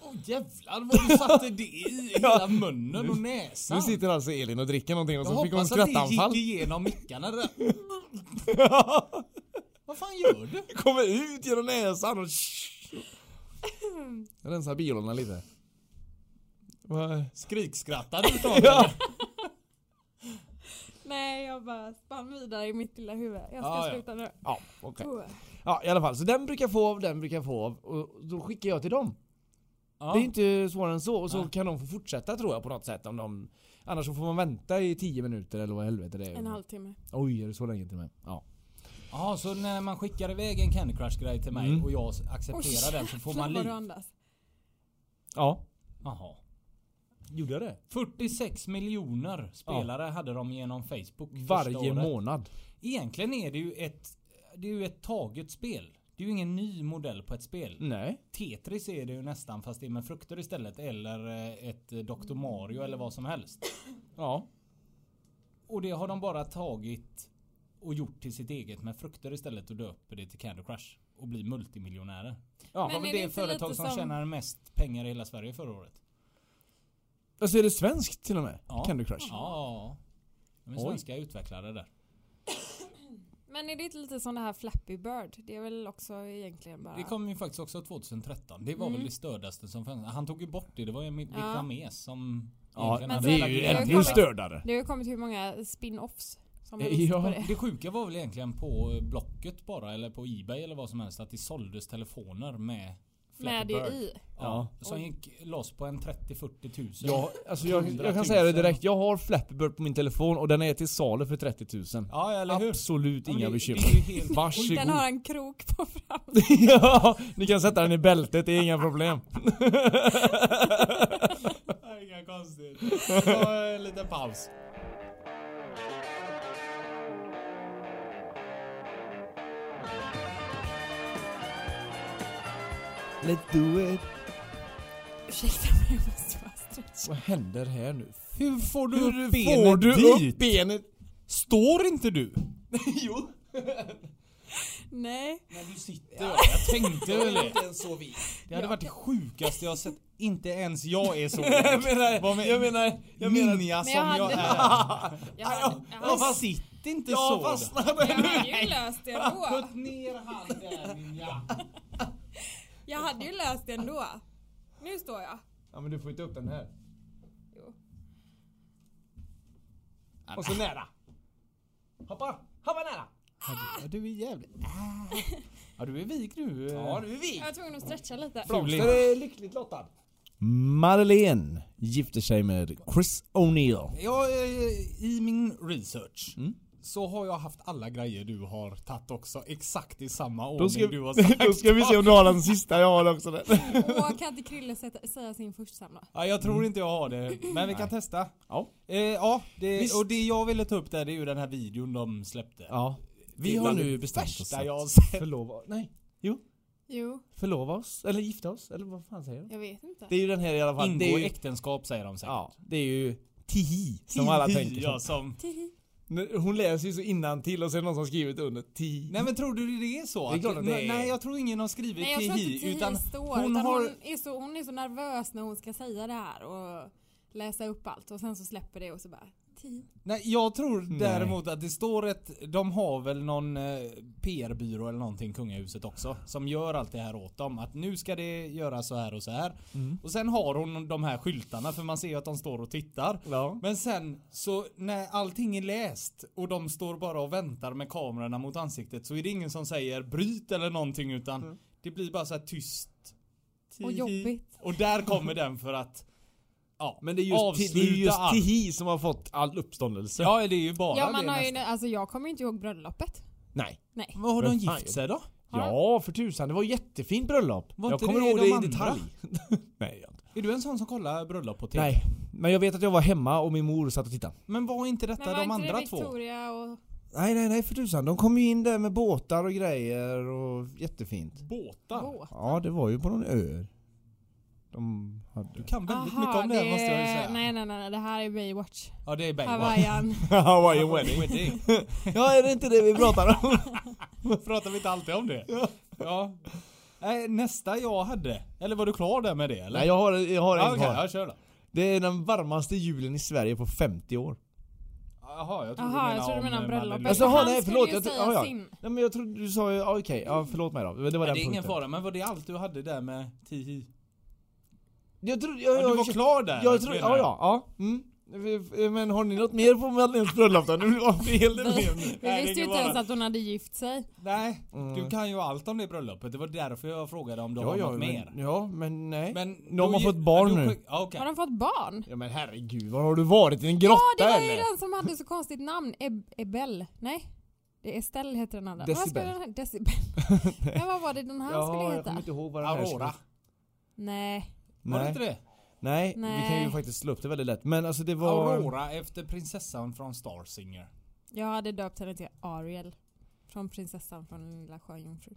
Speaker 2: Åh jävlar vad du satte
Speaker 6: *laughs*
Speaker 2: det i hela munnen och näsan.
Speaker 6: Nu sitter alltså Elin och dricker någonting och
Speaker 2: jag
Speaker 6: så fick hon
Speaker 2: hoppas att det
Speaker 6: skrattanfall.
Speaker 2: gick igenom
Speaker 6: *laughs*
Speaker 2: mickarna där. Vad fan gör du?
Speaker 6: Kommer ut genom näsan och... Jag rensar bilarna lite. Vad-
Speaker 2: Skrikskrattar du utav det?
Speaker 4: Nej jag bara spann vidare i mitt lilla huvud. Jag ska
Speaker 2: Ah, ja.
Speaker 4: sluta nu.
Speaker 6: Ja, okej.
Speaker 4: Oh.
Speaker 6: Ja, i alla fall. Så den brukar jag få av, den brukar jag få av. Och då skickar jag till dem. Det är inte svårare än så. Och så
Speaker 2: Nej.
Speaker 6: kan de få fortsätta tror jag på något sätt om de... Annars så får man vänta i 10 minuter eller vad helvete det är.
Speaker 4: En halvtimme.
Speaker 6: Oj, är det så länge till och med? Ja.
Speaker 2: Ja, så när man skickar iväg en Candy Crush grej till mig
Speaker 6: Mm.
Speaker 2: och jag accepterar den så får man
Speaker 4: Jävlar vad du
Speaker 2: liv.
Speaker 4: andas.
Speaker 6: Ja.
Speaker 2: Jaha.
Speaker 6: Gjorde jag det?
Speaker 2: 46 miljoner spelare hade de genom Facebook första
Speaker 6: Varje
Speaker 2: året.
Speaker 6: månad.
Speaker 2: Egentligen är det ju ett, det är ju ett taget spel. Det är ju ingen ny modell på ett spel.
Speaker 6: Nej.
Speaker 2: Tetris är det ju nästan fast det är med frukter istället eller eh, ett eh, Dr. Mario eller vad som helst.
Speaker 6: Ja.
Speaker 2: Och det har de bara tagit och gjort till sitt eget med frukter istället och döper det till Candy Crush. Och blir multimiljonärer.
Speaker 6: Ja.
Speaker 2: Det var
Speaker 4: Men
Speaker 2: väl
Speaker 4: är det
Speaker 2: det
Speaker 4: inte lite
Speaker 2: företag som
Speaker 4: som-
Speaker 2: tjänar mest pengar i hela Sverige förra året.
Speaker 6: Alltså är det svenskt till och med?
Speaker 2: Ja.
Speaker 6: Candy Crush?
Speaker 2: Ja. De är
Speaker 6: Oj.
Speaker 2: svenska utvecklare där.
Speaker 4: Men är det inte lite som det här Flappy Bird? Det är väl också egentligen bara...
Speaker 2: Det kom ju faktiskt också 2013. Det var
Speaker 4: Mm.
Speaker 2: väl det stördaste som fanns. Han tog ju bort det. Det var ju en
Speaker 4: Ja.
Speaker 2: vietnames som...
Speaker 6: Ja,
Speaker 2: egentligen
Speaker 4: men
Speaker 2: hade-
Speaker 6: det är
Speaker 4: sen-
Speaker 6: ju
Speaker 4: det har
Speaker 6: ännu
Speaker 4: kommit-
Speaker 6: stördare.
Speaker 4: Det har ju kommit hur många spin-offs som har
Speaker 6: Eh,
Speaker 4: visat
Speaker 6: ja.
Speaker 4: på det.
Speaker 2: Det sjuka var väl egentligen på eh, Blocket bara eller på Ebay eller vad som helst att det såldes telefoner med
Speaker 4: Med
Speaker 2: Flappy
Speaker 4: det
Speaker 2: Bird.
Speaker 4: i.
Speaker 2: Ja.
Speaker 6: Ja.
Speaker 2: Som gick loss på en 30-40 tusen.
Speaker 6: Ja, alltså jag, jag kan säga det
Speaker 2: 100 000.
Speaker 6: direkt. Jag har Flappy Bird på min telefon och den är till salu för 30 000.
Speaker 2: ja eller hur?
Speaker 6: Absolut
Speaker 2: Ja, men
Speaker 6: inga
Speaker 2: det-
Speaker 6: bekymmer.
Speaker 2: det är ju
Speaker 6: *laughs*
Speaker 2: helt-
Speaker 6: Varsågod.
Speaker 4: Den har en krok på fram.
Speaker 6: ja, ni kan sätta den i bältet, det är inga problem.
Speaker 2: Inga konstigt. Ta en liten paus.
Speaker 6: Let's do it.
Speaker 4: Ursäkta mig, jag måste bara stretcha.
Speaker 6: Vad händer här nu?
Speaker 2: Hur får du
Speaker 6: Hur
Speaker 2: upp benet
Speaker 6: får du
Speaker 2: dit?
Speaker 6: upp benet?
Speaker 2: Står inte du?
Speaker 6: jo.
Speaker 4: Nej.
Speaker 2: När du sitter. Jag tänkte väl det. Det hade varit det sjukaste jag sett. Inte ens jag
Speaker 6: *laughs*
Speaker 2: är så
Speaker 6: Jag menar,
Speaker 2: Vad men-
Speaker 6: jag menar, jag menar...
Speaker 2: Ninja
Speaker 4: Men
Speaker 2: som
Speaker 4: jag
Speaker 2: jag,
Speaker 4: hade-
Speaker 2: är.
Speaker 4: *laughs* Jag hade, jag hade,
Speaker 2: Men sitt inte så.
Speaker 6: Jag fastnade!
Speaker 4: jag hade ju löst det ändå.
Speaker 2: Put ner handen Ninja.
Speaker 4: Jag hade ju löst det ändå. Nu står jag.
Speaker 6: Ja men du får inte upp den här.
Speaker 4: Jo.
Speaker 6: Och så nära. Hoppa! Hoppa nära!
Speaker 2: Ja, du är jävligt... Ja du är vik nu.
Speaker 6: Ah. Ja nu är vi!
Speaker 4: Jag var tvungen att stretcha lite.
Speaker 6: Blomster är lyckligt lottad. Madeleine gifter sig med Chris O'Neill.
Speaker 2: Jag, eh, I min research
Speaker 6: Mm.
Speaker 2: så har jag haft alla grejer du har tagit också. Exakt i samma ordning
Speaker 6: Då ska,
Speaker 2: du
Speaker 6: *laughs*
Speaker 2: har sagt.
Speaker 6: då ska vi se om du har den sista jag har också. *laughs* Där.
Speaker 4: Och kan inte Krille sätta- säga sin förstsamma?
Speaker 2: Ja, jag tror inte jag har det. Men vi kan testa.
Speaker 6: Ja.
Speaker 2: Eh, ja det,
Speaker 6: Visst.
Speaker 2: och det jag ville ta upp där det är ju den här videon de släppte.
Speaker 6: Ja.
Speaker 2: Det
Speaker 6: Vi
Speaker 2: är
Speaker 6: har
Speaker 2: bland
Speaker 6: nu
Speaker 2: det
Speaker 6: bestämt oss
Speaker 2: värsta jag har
Speaker 6: att
Speaker 2: sett.
Speaker 6: *laughs* förlova, nej,
Speaker 4: Jo,
Speaker 6: förlova oss, eller gifta oss, eller vad fan säger de?
Speaker 4: jag vet inte.
Speaker 6: Det är ju den här i alla fall.
Speaker 2: Ingå
Speaker 6: det är ju,
Speaker 2: äktenskap säger de säkert.
Speaker 6: ja, det är ju tihi som alla tänker.
Speaker 2: Ja, som.
Speaker 6: Nu- Hon läser ju så innantill och så är det någon som skrivit under ti.
Speaker 2: Nej men tror du det är så?
Speaker 6: Det är klart att det är-
Speaker 2: Nej jag tror ingen har skrivit
Speaker 4: Nej jag tror inte
Speaker 2: Tihi
Speaker 4: Tihi
Speaker 2: utan
Speaker 4: står
Speaker 2: hon
Speaker 4: utan
Speaker 2: har...
Speaker 4: hon, är så, hon är så nervös när hon ska säga det här och läsa upp allt och sen så släpper det och så bara Tihi.
Speaker 2: Nej jag tror däremot att det står ett... De har väl någon eh, PR-byrå eller någonting, kungahuset också. Som gör allt det här åt dem. Att nu ska det göras så här och så här.
Speaker 6: Mm.
Speaker 2: Och sen har hon de här skyltarna för man ser ju att de står och tittar.
Speaker 6: Ja.
Speaker 2: Men sen så när allting är läst och de står bara och väntar med kamerorna mot ansiktet så är det ingen som säger bryt eller någonting utan
Speaker 6: Mm.
Speaker 2: det blir bara så här tyst.
Speaker 4: Och jobbigt.
Speaker 2: Och där kommer den för att ja,
Speaker 6: Men det är just, ti,
Speaker 2: avsluta
Speaker 6: det är just
Speaker 2: allt.
Speaker 6: tihi som har fått all uppståndelse.
Speaker 2: Ja det är ju bara
Speaker 4: Ja man
Speaker 2: det
Speaker 4: har ju,
Speaker 2: nästan.
Speaker 4: alltså jag kommer ju inte ihåg bröllopet.
Speaker 6: Nej.
Speaker 4: Nej.
Speaker 2: Vad har
Speaker 6: Men
Speaker 2: de
Speaker 6: fan,
Speaker 2: gift sig då?
Speaker 6: Ja för tusan, det var jättefint bröllop.
Speaker 2: Var
Speaker 6: jag
Speaker 2: inte
Speaker 6: kommer
Speaker 2: det
Speaker 6: ihåg
Speaker 2: de
Speaker 6: det i
Speaker 2: andra?
Speaker 6: detalj. *laughs* Nej, jag inte.
Speaker 2: Är du en sån som kollar bröllop på TV?
Speaker 6: Nej, men jag vet att jag var hemma och min mor satt och tittade.
Speaker 2: Men var inte detta
Speaker 4: Men var
Speaker 2: de
Speaker 4: inte
Speaker 2: andra
Speaker 4: det
Speaker 2: två?
Speaker 4: Victoria och...
Speaker 6: Nej nej nej för tusan, de kom ju in där med båtar och grejer och jättefint.
Speaker 2: Båtar?
Speaker 4: Åh.
Speaker 6: Ja det var ju på någon ö. De hade... *laughs*
Speaker 2: Du kan väldigt
Speaker 4: Aha,
Speaker 2: mycket om det här måste jag ju säga.
Speaker 4: Nej nej nej, nej, det här är Baywatch.
Speaker 2: Ja det är Baywatch.
Speaker 4: Hawaiian.
Speaker 6: Hawaiian wedding. *laughs*
Speaker 2: Wedding.
Speaker 6: Ja är det inte det vi pratar om?
Speaker 2: Pratar vi inte alltid om det? Ja. Nej, nästa jag hade. Eller var du klar där med det
Speaker 6: *laughs*
Speaker 2: eller?
Speaker 6: Nej jag har, jag har
Speaker 2: ja,
Speaker 6: en
Speaker 2: okej,
Speaker 6: kvar.
Speaker 2: jag kör då.
Speaker 6: Det är den varmaste julen i Sverige på 50 år.
Speaker 2: Jaha, jag tror du
Speaker 4: Jaha
Speaker 2: menar
Speaker 4: jag tror du
Speaker 2: om,
Speaker 4: menar
Speaker 2: eh,
Speaker 4: bröllopet.
Speaker 2: Madeleine.
Speaker 6: Alltså, ha,
Speaker 4: han
Speaker 6: nej,
Speaker 4: skulle
Speaker 6: förlåt,
Speaker 4: ju
Speaker 6: jag-
Speaker 4: säga
Speaker 6: ja, ja.
Speaker 4: sin.
Speaker 6: Nej men jag trodde du sa ju, ja, okej, ja förlåt mig då. Det var den
Speaker 2: det är
Speaker 6: punkten.
Speaker 2: ingen fara, men var det allt du hade där med Tihi?
Speaker 6: Jag trodde, jag,
Speaker 2: Ja,
Speaker 6: jag,
Speaker 2: du var klar där?
Speaker 6: jag tror,
Speaker 2: menar
Speaker 6: ja ja, ja. Mm. Men har ni något mer på Madeleines bröllop då? Nu blir
Speaker 4: *laughs*
Speaker 6: jag fel det blev nu.
Speaker 4: Vi
Speaker 2: Nej, det
Speaker 4: visste ju
Speaker 2: kan
Speaker 4: inte ens
Speaker 2: vara.
Speaker 4: att hon hade gift sig.
Speaker 2: Nej,
Speaker 6: Mm.
Speaker 2: du kan ju allt om det bröllopet. Det var därför jag frågade om du
Speaker 6: Ja,
Speaker 2: har
Speaker 6: ja,
Speaker 2: något mer.
Speaker 6: men, ja, men nej.
Speaker 2: Men
Speaker 6: De har fått barn nu.
Speaker 2: Ja, okej.
Speaker 4: Har de fått barn?
Speaker 6: Ja men herregud, var har du varit? I en grotta
Speaker 4: Ja, det var ju
Speaker 6: eller?
Speaker 4: den som hade så konstigt namn. Eb- Ebel. Nej. Det är Estelle heter den andra. Vad
Speaker 6: Decibel.
Speaker 4: skulle den här-
Speaker 2: *laughs*
Speaker 4: Decibel. Men vad var det den här skulle
Speaker 6: jag kommer
Speaker 4: heta?
Speaker 6: inte ihåg vad den här
Speaker 2: Aurora.
Speaker 4: Nej.
Speaker 2: Var det
Speaker 6: Nej.
Speaker 2: inte det?
Speaker 6: Nej, vi kan ju
Speaker 4: Nej.
Speaker 6: faktiskt slå upp det väldigt lätt. Men alltså det var...
Speaker 2: Aurora efter prinsessan från Star Singer.
Speaker 4: Jag hade döpt henne till Ariel. Från prinsessan från Lilla Sjöjungfrun.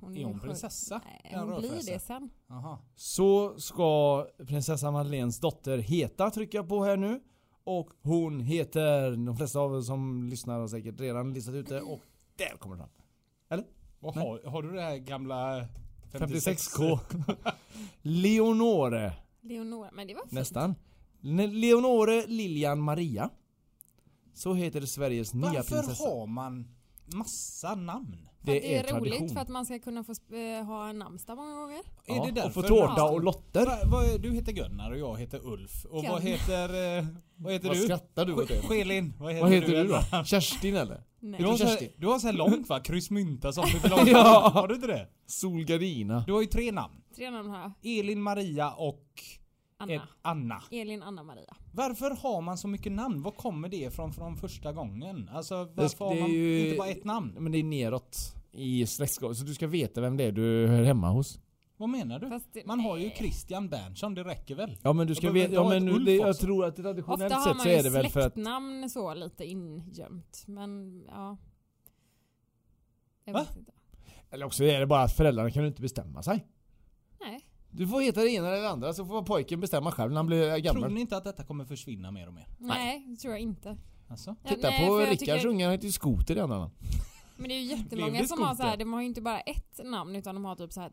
Speaker 4: Hon
Speaker 2: Är
Speaker 4: ju
Speaker 2: hon
Speaker 4: sjuk.
Speaker 2: prinsessa?
Speaker 4: Mm. Nej,
Speaker 2: Är
Speaker 4: hon blir
Speaker 2: rödfräsen?
Speaker 4: det sen.
Speaker 2: Jaha.
Speaker 6: Så ska prinsessa Madeleines dotter heta trycka på här nu. Och hon heter, de flesta av er som lyssnar har säkert redan listat ut det och där kommer det fram.
Speaker 2: Och har, har du det här gamla 56?
Speaker 6: 56k. *laughs* Leonore.
Speaker 4: Leonora, men det var fint.
Speaker 6: Nästan. Ne- Leonore Lilian Maria. Så heter Sveriges nya
Speaker 2: Varför
Speaker 6: prinsessa.
Speaker 2: har man massa namn?
Speaker 4: För att
Speaker 6: Det är,
Speaker 4: roligt
Speaker 6: tradition.
Speaker 4: för att man ska kunna få sp- eh, ha en namnsdag många gånger.
Speaker 6: ja,
Speaker 2: är det
Speaker 6: och få
Speaker 2: därför
Speaker 6: tårta
Speaker 2: man-
Speaker 6: och lotter.
Speaker 2: Va, vad- du heter Gunnar och jag heter Ulf. Och vad
Speaker 4: Gunnar.
Speaker 2: heter, eh, vad heter
Speaker 6: Vad
Speaker 2: du?
Speaker 6: skrattar du åt det?
Speaker 2: Sk- Skelin, vad heter,
Speaker 6: Vad heter du
Speaker 2: Edvard?
Speaker 6: då? Kerstin eller?
Speaker 4: Nej.
Speaker 2: Du har, så här,
Speaker 6: Kerstin.
Speaker 2: du har så här långt va? Kryssmynta som du vill ha.
Speaker 6: Ja.
Speaker 2: Har du inte det?
Speaker 6: Solgardina.
Speaker 2: Du har ju tre namn.
Speaker 4: Tre namn har jag.
Speaker 2: Elin, Maria och
Speaker 4: Anna.
Speaker 2: Ed- Anna.
Speaker 4: Elin, Anna, Maria.
Speaker 2: Varför har man så mycket namn? Var kommer det ifrån från första gången? Alltså
Speaker 6: Det-
Speaker 2: varför har
Speaker 6: det är
Speaker 2: man
Speaker 6: ju-
Speaker 2: inte bara ett namn?
Speaker 6: Men det är neråt i släktskapet. Så du ska veta vem det är du hör hemma hos.
Speaker 2: Vad menar du?
Speaker 4: Fast det-
Speaker 2: Man har ju Christian Berntsson, det räcker väl?
Speaker 6: Ja men du ska
Speaker 2: Jag behöver
Speaker 6: veta. Ja,
Speaker 2: ta ett
Speaker 6: men
Speaker 2: Ulf
Speaker 6: nu- det, jag
Speaker 2: också.
Speaker 6: tror att
Speaker 4: Ofta
Speaker 6: traditionellt
Speaker 4: har
Speaker 6: sett
Speaker 4: man
Speaker 6: så
Speaker 4: ju
Speaker 6: är det väl för att...
Speaker 4: släktnamn så lite ingömt. Men ja. Jag
Speaker 2: Va?
Speaker 4: vet inte.
Speaker 6: Eller också är det bara att föräldrarna kan inte bestämma sig.
Speaker 4: Nej.
Speaker 6: Du får heta det ena eller det andra så får pojken bestämma själv när han blir
Speaker 2: Tror
Speaker 6: gammal.
Speaker 2: ni inte att detta kommer försvinna mer och mer?
Speaker 4: Nej, det tror jag inte.
Speaker 2: Alltså?
Speaker 4: Ja,
Speaker 6: Titta
Speaker 4: nej,
Speaker 6: på
Speaker 4: för jag
Speaker 6: Rickards
Speaker 4: tycker-
Speaker 6: ungar, han heter ju Skoter i andra namn.
Speaker 4: Men det är ju
Speaker 2: Blev
Speaker 4: jättemånga
Speaker 2: det
Speaker 4: som har så här,
Speaker 2: skoter?
Speaker 4: de har ju inte bara ett namn utan de har typ så här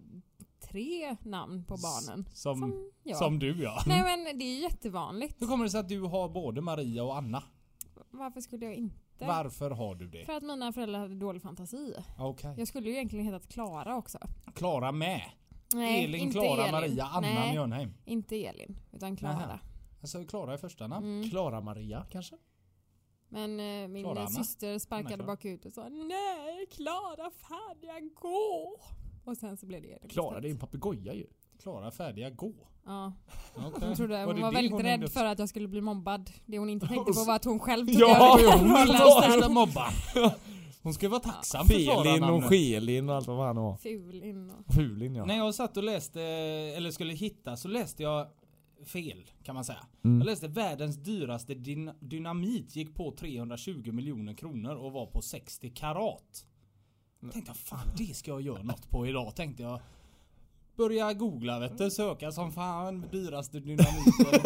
Speaker 4: tre namn på barnen.
Speaker 2: Som, som,
Speaker 4: Som jag.
Speaker 2: du ja.
Speaker 4: Nej men det är ju jättevanligt.
Speaker 2: Hur kommer det sig att du har både Maria och Anna?
Speaker 4: Varför skulle jag inte?
Speaker 2: Varför har du det?
Speaker 4: För att mina föräldrar hade dålig fantasi.
Speaker 2: Okej.
Speaker 4: Jag skulle ju egentligen hetat Klara också.
Speaker 2: Klara med. Elin,
Speaker 4: inte
Speaker 2: Klara, Maria, Anna
Speaker 4: Nej,
Speaker 2: Mjörnheim.
Speaker 4: inte Elin. Utan Klara.
Speaker 2: Nähä. Alltså Klara i första namn.
Speaker 4: Mm.
Speaker 6: Klara-Maria kanske?
Speaker 4: Men eh, min
Speaker 2: Klara,
Speaker 4: eh,
Speaker 2: Anna.
Speaker 4: syster sparkade
Speaker 2: Klara.
Speaker 4: bakut och sa Nej Klara fan jag går. Och sen så blev det Elin.
Speaker 6: Klara, det är
Speaker 4: istället.
Speaker 6: ju en papegoja ju.
Speaker 2: Klara färdiga gå.
Speaker 4: Ja.
Speaker 2: Okay.
Speaker 4: Hon
Speaker 2: *laughs*
Speaker 4: trodde hon var väldigt rädd för att jag skulle bli mobbad. Det hon inte tänkte på var att hon själv tog
Speaker 6: Ja,
Speaker 4: över
Speaker 6: hon
Speaker 4: rollen
Speaker 6: var
Speaker 4: sen. *laughs*
Speaker 2: mobba. Hon ska vara tacksam för Klara
Speaker 6: Felin och
Speaker 2: namnet.
Speaker 6: Skelin och allt vad han var.
Speaker 4: Fulin och...
Speaker 6: Fulin ja.
Speaker 2: När jag satt och läste, eller skulle hitta, så läste jag fel kan man säga.
Speaker 4: Mm.
Speaker 2: Jag läste världens dyraste dyn- dynamit gick på 320 miljoner kronor och var på 60 karat. Tänkte jag fan det ska jag göra något på idag tänkte jag. Börja googla vet
Speaker 6: Mm.
Speaker 2: du, söka som fan
Speaker 6: *laughs*
Speaker 2: dyraste dynamit.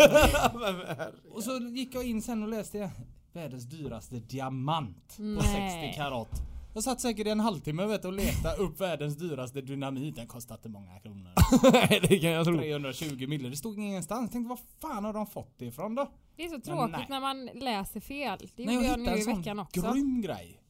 Speaker 2: och så gick jag in sen och läste världens dyraste diamant på
Speaker 4: Nej.
Speaker 2: 60 karat. Jag satt säkert i en halvtimme vet, du, och letade upp världens dyraste dynamit. Den kostade inte många
Speaker 6: *laughs*
Speaker 2: kronor.
Speaker 6: Nej det kan jag tro.
Speaker 2: 320 mille. Det stod ingenstans. Tänkte vad fan har de fått det ifrån då?
Speaker 4: Det är så
Speaker 2: nej.
Speaker 4: tråkigt när man läser fel. Det
Speaker 2: Nej,
Speaker 4: gjorde jag nu i veckan också.
Speaker 2: grym grej.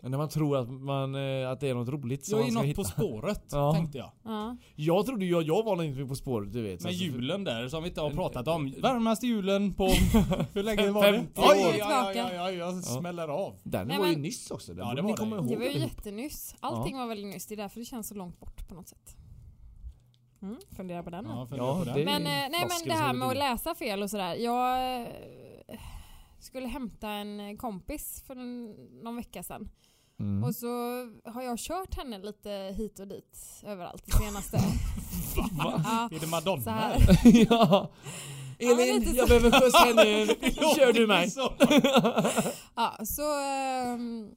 Speaker 6: Men när man tror att, man, eh, att det är något roligt som
Speaker 2: Jag
Speaker 6: man
Speaker 2: är
Speaker 6: ska
Speaker 2: något
Speaker 6: hitta.
Speaker 2: på spåret
Speaker 6: *laughs* Ja.
Speaker 2: tänkte jag.
Speaker 4: Ja.
Speaker 6: Jag trodde ju att jag var något på spåret du vet.
Speaker 2: Med
Speaker 6: Alltså, för-
Speaker 2: julen där som vi inte har pratat om. Värmaste julen *laughs* på... Hur länge var det?
Speaker 6: 50
Speaker 2: Oj,
Speaker 6: år.
Speaker 2: oj, oj, oj, oj, oj, jag smäller av.
Speaker 6: Den
Speaker 4: Nej,
Speaker 6: var ju
Speaker 4: men-
Speaker 6: nyss också. Den
Speaker 2: Ja,
Speaker 6: borde
Speaker 2: det
Speaker 6: ni
Speaker 2: var det.
Speaker 6: komma ihåg.
Speaker 4: Det var ju
Speaker 6: *laughs* allihop.
Speaker 4: jättenyss. Allting var väldigt nyss. Det är därför det känns så långt bort på något sätt. Mm, fundera på den nu.
Speaker 2: Ja,
Speaker 6: Ja,
Speaker 2: ja, på
Speaker 6: det-
Speaker 2: det. *laughs*
Speaker 4: Men,
Speaker 6: är
Speaker 4: eh,
Speaker 6: ju
Speaker 4: nej, men
Speaker 6: floskel
Speaker 4: det
Speaker 6: som
Speaker 4: här
Speaker 6: heter
Speaker 4: med att
Speaker 6: duga.
Speaker 4: läsa fel och sådär. Jag eh, skulle hämta en kompis för en, någon vecka sedan.
Speaker 6: Mm.
Speaker 4: Och så har jag kört henne lite hit och dit överallt det
Speaker 6: *laughs*
Speaker 4: senaste. ja,
Speaker 2: Är det
Speaker 4: så
Speaker 2: Madonna?
Speaker 4: här.
Speaker 2: eller?
Speaker 6: ja.
Speaker 4: men
Speaker 6: Elin,
Speaker 4: lite så.
Speaker 6: jag behöver skjuts här
Speaker 2: *laughs*
Speaker 6: nu. Kör du mig?
Speaker 2: Så.
Speaker 4: *laughs* Ja, så, ehm,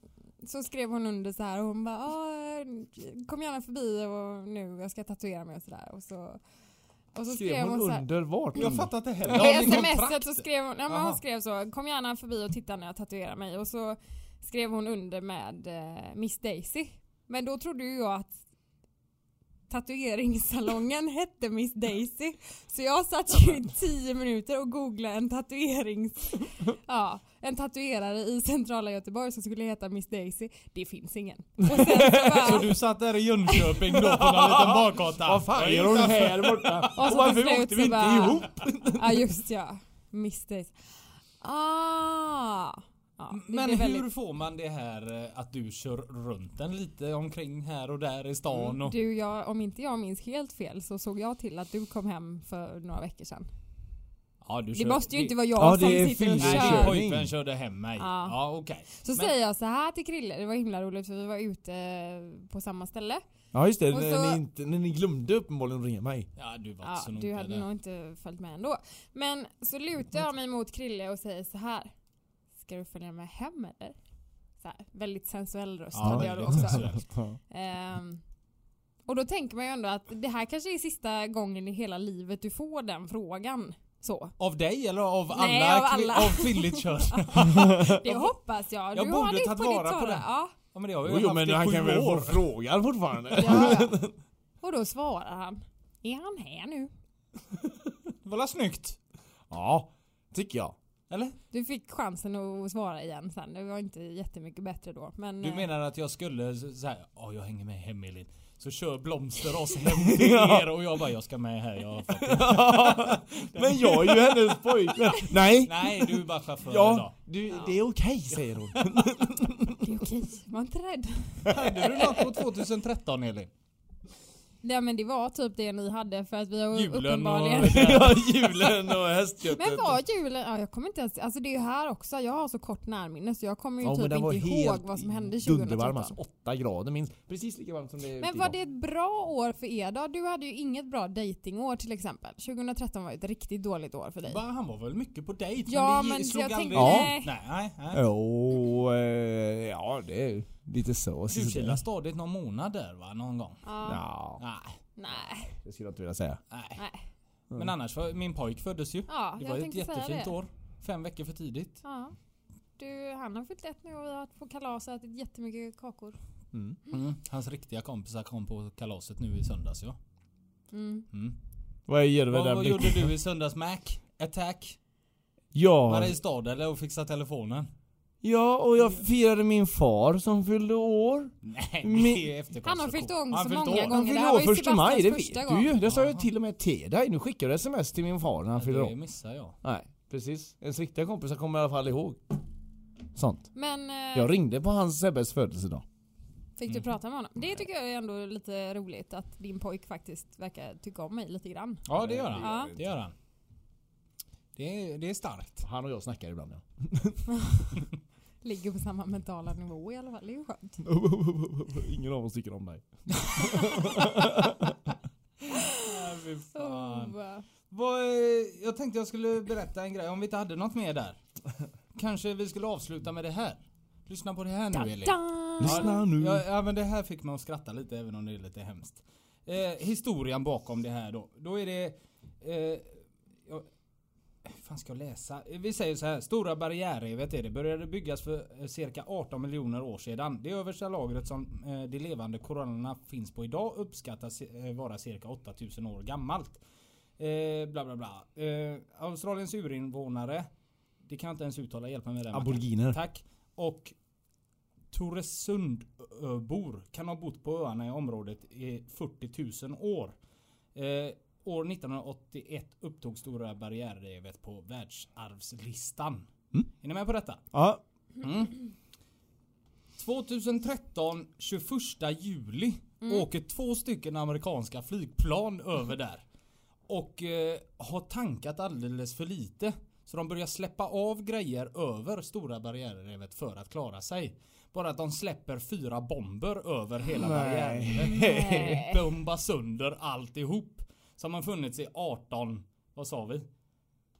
Speaker 4: så skrev hon under så här och hon bara "Ah, kom gärna förbi och nu jag ska tatuera mig och sådär. Och så, och så skrev hon, så här,
Speaker 6: under vart?
Speaker 2: Jag
Speaker 6: under? *laughs*
Speaker 2: fattar inte heller.
Speaker 4: I
Speaker 2: Har ni
Speaker 4: smset
Speaker 2: kontrakt?
Speaker 4: så skrev hon, ja, men hon
Speaker 2: Aha.
Speaker 4: skrev så, kom gärna förbi och titta när jag tatuerar mig. Och så skrev hon under med eh, Miss Daisy. Men då trodde ju jag att tatueringssalongen *laughs* hette Miss Daisy. Så jag satt ju i tio minuter och googlade en tatuerings...
Speaker 2: *laughs*
Speaker 4: Ja, en tatuerare i centrala Göteborg som skulle heta Miss Daisy. Det finns
Speaker 2: *laughs*
Speaker 4: ingen. Och sen så bara,
Speaker 2: Så du satt där i Jönköping då på någon liten bakgata?
Speaker 6: Vad fan gör hon här
Speaker 2: *laughs*
Speaker 6: borta?
Speaker 4: Och så
Speaker 6: varför
Speaker 4: till slut
Speaker 6: åkte
Speaker 4: så
Speaker 6: vi inte
Speaker 4: bara-
Speaker 6: ihop?
Speaker 4: Ja just ja, Miss Daisy. Ah! Ja, det
Speaker 2: Men
Speaker 4: blir
Speaker 2: hur
Speaker 4: väldigt-
Speaker 2: får man det här eh, att du kör runt den lite omkring här och där i stan? Och...
Speaker 4: Mm. Du, jag, om inte jag minns helt fel så såg jag till att du kom hem för några veckor sedan.
Speaker 2: Ja, du
Speaker 4: Det måste ju inte vara jag
Speaker 6: Ja,
Speaker 4: som
Speaker 6: det är
Speaker 4: sitter och
Speaker 6: fyra
Speaker 2: Nej, din
Speaker 6: Körning.
Speaker 4: kör.
Speaker 2: pojkvän körde hem mig.
Speaker 4: Ja.
Speaker 2: Ja, okej.
Speaker 4: Så
Speaker 2: Men-
Speaker 4: säger jag så här till Krille, det var himla roligt för vi var ute eh, på samma ställe.
Speaker 6: Ja just det,
Speaker 4: Och
Speaker 6: när,
Speaker 4: så-
Speaker 6: ni inte, när ni glömde uppenbarligen att ringa mig.
Speaker 2: Ja, du var
Speaker 4: Ja,
Speaker 2: inte så noga
Speaker 4: du hade
Speaker 2: där.
Speaker 4: nog inte följt med ändå. Men så lutar jag mig mot Krille och säger så här. Ska du följa med hem eller? Så här, väldigt sensuell röst
Speaker 2: Ja,
Speaker 4: hade jag då
Speaker 2: väldigt
Speaker 4: också.
Speaker 2: sensuellt.
Speaker 4: Ehm, Och då tänker man ju ändå att det här kanske är sista gången i hela livet du får den frågan. Så.
Speaker 2: Av dig eller av
Speaker 4: Nej,
Speaker 2: alla?
Speaker 4: av
Speaker 2: kvin-
Speaker 4: alla.
Speaker 2: av kvinnligt
Speaker 4: *laughs*
Speaker 2: kön?
Speaker 4: Det hoppas jag. Du
Speaker 2: jag
Speaker 4: har
Speaker 2: borde
Speaker 4: ditt
Speaker 2: tagit
Speaker 4: på ditt
Speaker 2: vara på
Speaker 4: torra.
Speaker 2: det.
Speaker 4: Ja.
Speaker 2: ja, men det har vi
Speaker 6: Jo,
Speaker 2: ju
Speaker 6: jo
Speaker 2: haft
Speaker 6: men
Speaker 2: i
Speaker 6: han
Speaker 2: sju
Speaker 6: kan väl få
Speaker 2: år.
Speaker 6: frågan fortfarande?
Speaker 4: Ja. Och då svarar han. Är han här nu?
Speaker 2: Det var väl snyggt?
Speaker 6: ja, tycker jag.
Speaker 2: Eller?
Speaker 4: Du fick chansen att svara igen sen. Det var inte jättemycket bättre då. Men,
Speaker 2: Du
Speaker 4: eh,
Speaker 2: menar att jag skulle så- så här, ja jag hänger med hem Elin. Så kör
Speaker 6: *laughs*
Speaker 2: Blomster oss hem till er och jag bara jag ska med här, jag har fått
Speaker 6: *laughs*
Speaker 2: det.
Speaker 6: Men jag är ju hennes
Speaker 2: *laughs*
Speaker 6: pojkvän. Nej!
Speaker 2: Nej du är bara chaufför
Speaker 6: Ja, du, det är okej säger hon.
Speaker 4: eh, Det är okej, var inte rädd.
Speaker 2: idag. Hörde du något på 2013 Elin?
Speaker 4: Nej men det var typ det ni hade för att vi har
Speaker 2: Julen
Speaker 4: uppenbarligen...
Speaker 2: och...
Speaker 6: Ja, julen och hästköttet.
Speaker 4: *laughs* Men var julen... Ja, jag kommer inte ens... Alltså det är ju här också. Jag har så kort närminne så jag kommer ju
Speaker 6: Ja, men
Speaker 4: typ
Speaker 6: den var
Speaker 4: inte ihåg
Speaker 6: helt
Speaker 4: vad som hände
Speaker 6: dundervarm
Speaker 4: 2013.
Speaker 6: alltså. 8 grader minst. Precis lika varmt som det är ute
Speaker 4: Men var
Speaker 6: idag.
Speaker 4: det ett bra år för er då? Du hade ju inget bra datingår till exempel. 2013 var ju ett riktigt dåligt år för dig.
Speaker 2: Va, han var väl mycket på dejt?
Speaker 4: Ja,
Speaker 2: det
Speaker 4: men
Speaker 2: slog
Speaker 4: jag
Speaker 2: aldrig-
Speaker 4: tänkte-
Speaker 2: Ja. Nej, nej, nej.
Speaker 6: Jo, eh, ja det är lite så.
Speaker 2: Du
Speaker 6: sisådär.
Speaker 2: kilade stadigt någon månad där va? Någon gång?
Speaker 4: Ja.
Speaker 6: Ja,
Speaker 2: Nej,
Speaker 4: Nej.
Speaker 6: det skulle jag inte vilja säga.
Speaker 2: nej.
Speaker 4: Nej.
Speaker 6: Mm.
Speaker 2: Men annars, var- min pojk föddes ju.
Speaker 4: Ja,
Speaker 2: Det
Speaker 4: jag
Speaker 2: var ju ett
Speaker 4: tänkte säga
Speaker 2: jättefint
Speaker 4: det.
Speaker 2: år. Fem veckor för tidigt.
Speaker 4: Ja. Du, han har fyllt ett nu och vi har varit på kalas och ätit jättemycket kakor.
Speaker 6: Mm.
Speaker 2: Mm. Hans riktiga kompisar kom på kalaset nu i söndags ja.
Speaker 4: Mm.
Speaker 2: Mm.
Speaker 6: Vad gör du med
Speaker 2: Vad,
Speaker 6: den
Speaker 2: vad
Speaker 6: blicken?
Speaker 2: gjorde du i söndags Mac? Attack?
Speaker 6: Ja,
Speaker 2: Mariestad eller och fixa telefonen?
Speaker 6: ja, och jag firade min far som fyllde år.
Speaker 2: Nej,
Speaker 6: det
Speaker 4: Han har fyllt år så
Speaker 2: fyllt
Speaker 4: många
Speaker 2: år.
Speaker 4: gånger.
Speaker 6: Han
Speaker 4: det
Speaker 6: fyllde
Speaker 4: här
Speaker 6: år
Speaker 4: var ju
Speaker 6: första maj, det
Speaker 4: Sebastians
Speaker 6: vet
Speaker 4: första
Speaker 6: du
Speaker 4: gång.
Speaker 6: ju. Det sa jag till och med till dig. Nu skickar du sms till min far när han fyller
Speaker 2: Det
Speaker 6: år.
Speaker 2: missar jag.
Speaker 6: Nej, precis. Ens riktiga kompisar kommer i alla fall ihåg. Sånt.
Speaker 4: Men eh,
Speaker 6: Jag ringde på hans Sebbes födelsedag.
Speaker 4: fick du prata med honom? Det tycker jag är ändå lite roligt att din pojk faktiskt verkar tycka om mig lite grann.
Speaker 2: Ja det gör han.
Speaker 4: Ja.
Speaker 2: Det gör han. Det är, det är starkt.
Speaker 6: Han och jag snackar ibland ja.
Speaker 4: Ligger på samma mentala nivå i alla fall. Det är ju skönt.
Speaker 6: *laughs* Ingen av oss tycker om dig.
Speaker 4: Oh, eh,
Speaker 2: Vad, eh, jag tänkte jag skulle berätta en grej om vi inte hade något mer där. Kanske vi skulle avsluta med det här. Lyssna på det här nu Elin.
Speaker 4: da!
Speaker 6: Lyssna nu.
Speaker 2: Ja, ja men det här fick man att skratta lite även om det är lite hemskt. Eh, historien bakom det här då. Då är det... Eh, jag, fan ska jag läsa? Eh, Vi säger så här. Stora barriärrevet är det. Började byggas för eh, cirka 18 miljoner år sedan. Det översta lagret som eh, de levande korallerna finns på idag uppskattas eh, vara cirka 8000 år gammalt. Eh, bla bla bla. Eh, Australiens urinvånare. Det kan jag inte ens uttala. Hjälp mig med det. Mackan.
Speaker 6: Aboriginer.
Speaker 2: Tack. Och Toresundbor kan ha bott på öarna i området i 40 000 år. Eh, år 1981 upptog Stora barriärrevet på världsarvslistan. Är ni med på detta?
Speaker 6: Ja.
Speaker 2: 2013, 21 juli,
Speaker 4: Mm.
Speaker 2: åker två stycken amerikanska flygplan över där. Och eh, har tankat alldeles för lite. Så de börjar släppa av grejer över Stora barriärrevet för att klara sig. Bara att de släpper fyra bomber över
Speaker 4: *laughs*
Speaker 2: hela barriärrevet. Bombar sönder alltihop. Som har funnits i 18, vad sa vi?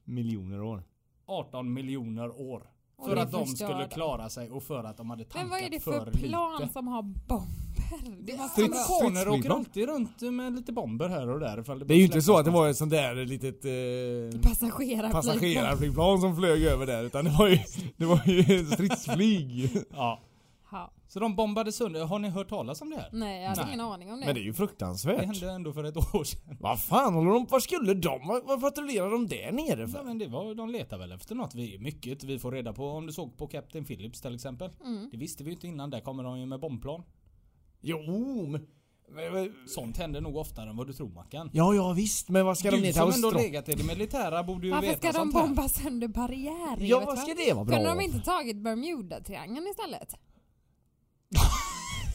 Speaker 6: Miljoner år.
Speaker 2: 18 miljoner år.
Speaker 4: Och
Speaker 2: För
Speaker 4: det
Speaker 2: att de
Speaker 4: förstör
Speaker 2: skulle
Speaker 4: dem.
Speaker 2: klara sig och för att de hade tankat
Speaker 4: Men vad är det
Speaker 2: för,
Speaker 4: för plan
Speaker 2: lite.
Speaker 4: som har bomber? Det måste
Speaker 6: Strids-
Speaker 4: vara-
Speaker 2: Amerikaner åker
Speaker 6: stridsflygplan.
Speaker 2: alltid runt med lite bomber här och där ifall
Speaker 6: Det är ju inte
Speaker 2: släpps
Speaker 6: så att det
Speaker 2: någonstans.
Speaker 6: var ett sånt där litet eh,
Speaker 4: passagerarflygplan.
Speaker 6: passagerarflygplan som flög över där utan det var ju, det var ju
Speaker 2: *laughs*
Speaker 6: stridsflyg.
Speaker 2: Ja.
Speaker 4: Ja.
Speaker 2: Så de bombade sönder. Har ni hört talas om det här?
Speaker 4: Nej, jag hade
Speaker 2: Nej.
Speaker 4: ingen aning om det.
Speaker 6: Men det är ju
Speaker 2: Det
Speaker 6: fruktansvärt.
Speaker 2: hände ändå för ett *laughs* år sedan.
Speaker 6: Vad fan håller de, vad skulle de, vad, vad patrullerar de där nere
Speaker 2: Ja,
Speaker 6: för?
Speaker 2: men det var, de letar väl efter något. Vi är mycket vi får reda på. Om du såg på Captain Phillips till exempel.
Speaker 4: Mm.
Speaker 2: Det visste vi ju inte innan. Där kommer de ju med bombplan.
Speaker 6: Jo, men... men- men-
Speaker 2: Sånt händer nog oftare än vad du tror Mackan.
Speaker 6: Ja, ja visst, men vad ska de ner
Speaker 2: Du
Speaker 6: till
Speaker 2: som ändå
Speaker 6: Australien?
Speaker 2: legat i det militära borde ju
Speaker 4: Varför
Speaker 2: veta
Speaker 4: ska de
Speaker 2: sånt här.
Speaker 4: bomba sönder barriärer?
Speaker 6: Ja, vad ska det vara bra
Speaker 4: Kunde de
Speaker 6: av?
Speaker 4: inte tagit Bermuda-triangeln istället?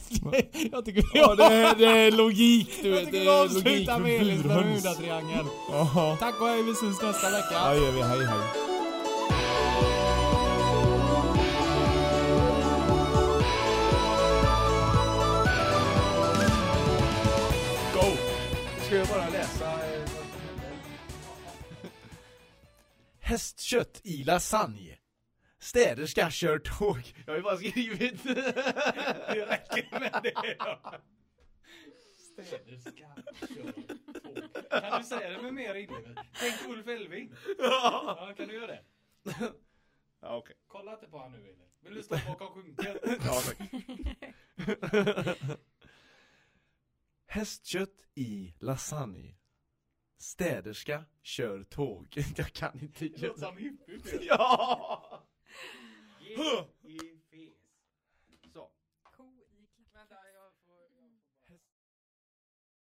Speaker 2: *laughs* Jag tycker vi
Speaker 6: Ja, det är, det är logik du
Speaker 2: Jag
Speaker 6: vet.
Speaker 2: tycker
Speaker 6: Det
Speaker 2: vi
Speaker 6: är
Speaker 2: avslutar med Elins
Speaker 6: burhöns.
Speaker 2: Bermudatriangel.
Speaker 6: Ja,
Speaker 2: Tack och hej, vi syns nästa vecka.
Speaker 6: Ja, gör vi. Hej, hej.
Speaker 5: Ska jag bara läsa? eh,
Speaker 1: Hästkött i lasagne. Städerska kör tåg. Jag har ju bara skrivit. det räcker med det.
Speaker 2: Städerska kör tåg. Kan du säga det med mer innehåll? Tänk Ulf Elving. Ja, kan du göra det?
Speaker 10: Ja, okej.
Speaker 2: Kolla inte på han nu Elin. Vill du stå bakom skynken?
Speaker 10: Ja, tack.
Speaker 8: *laughs* Hästkött i lasagne. Städerska kör *laughs* tåg. Jag kan inte.
Speaker 2: Låter som hippie.
Speaker 10: Ja!
Speaker 2: Yeah.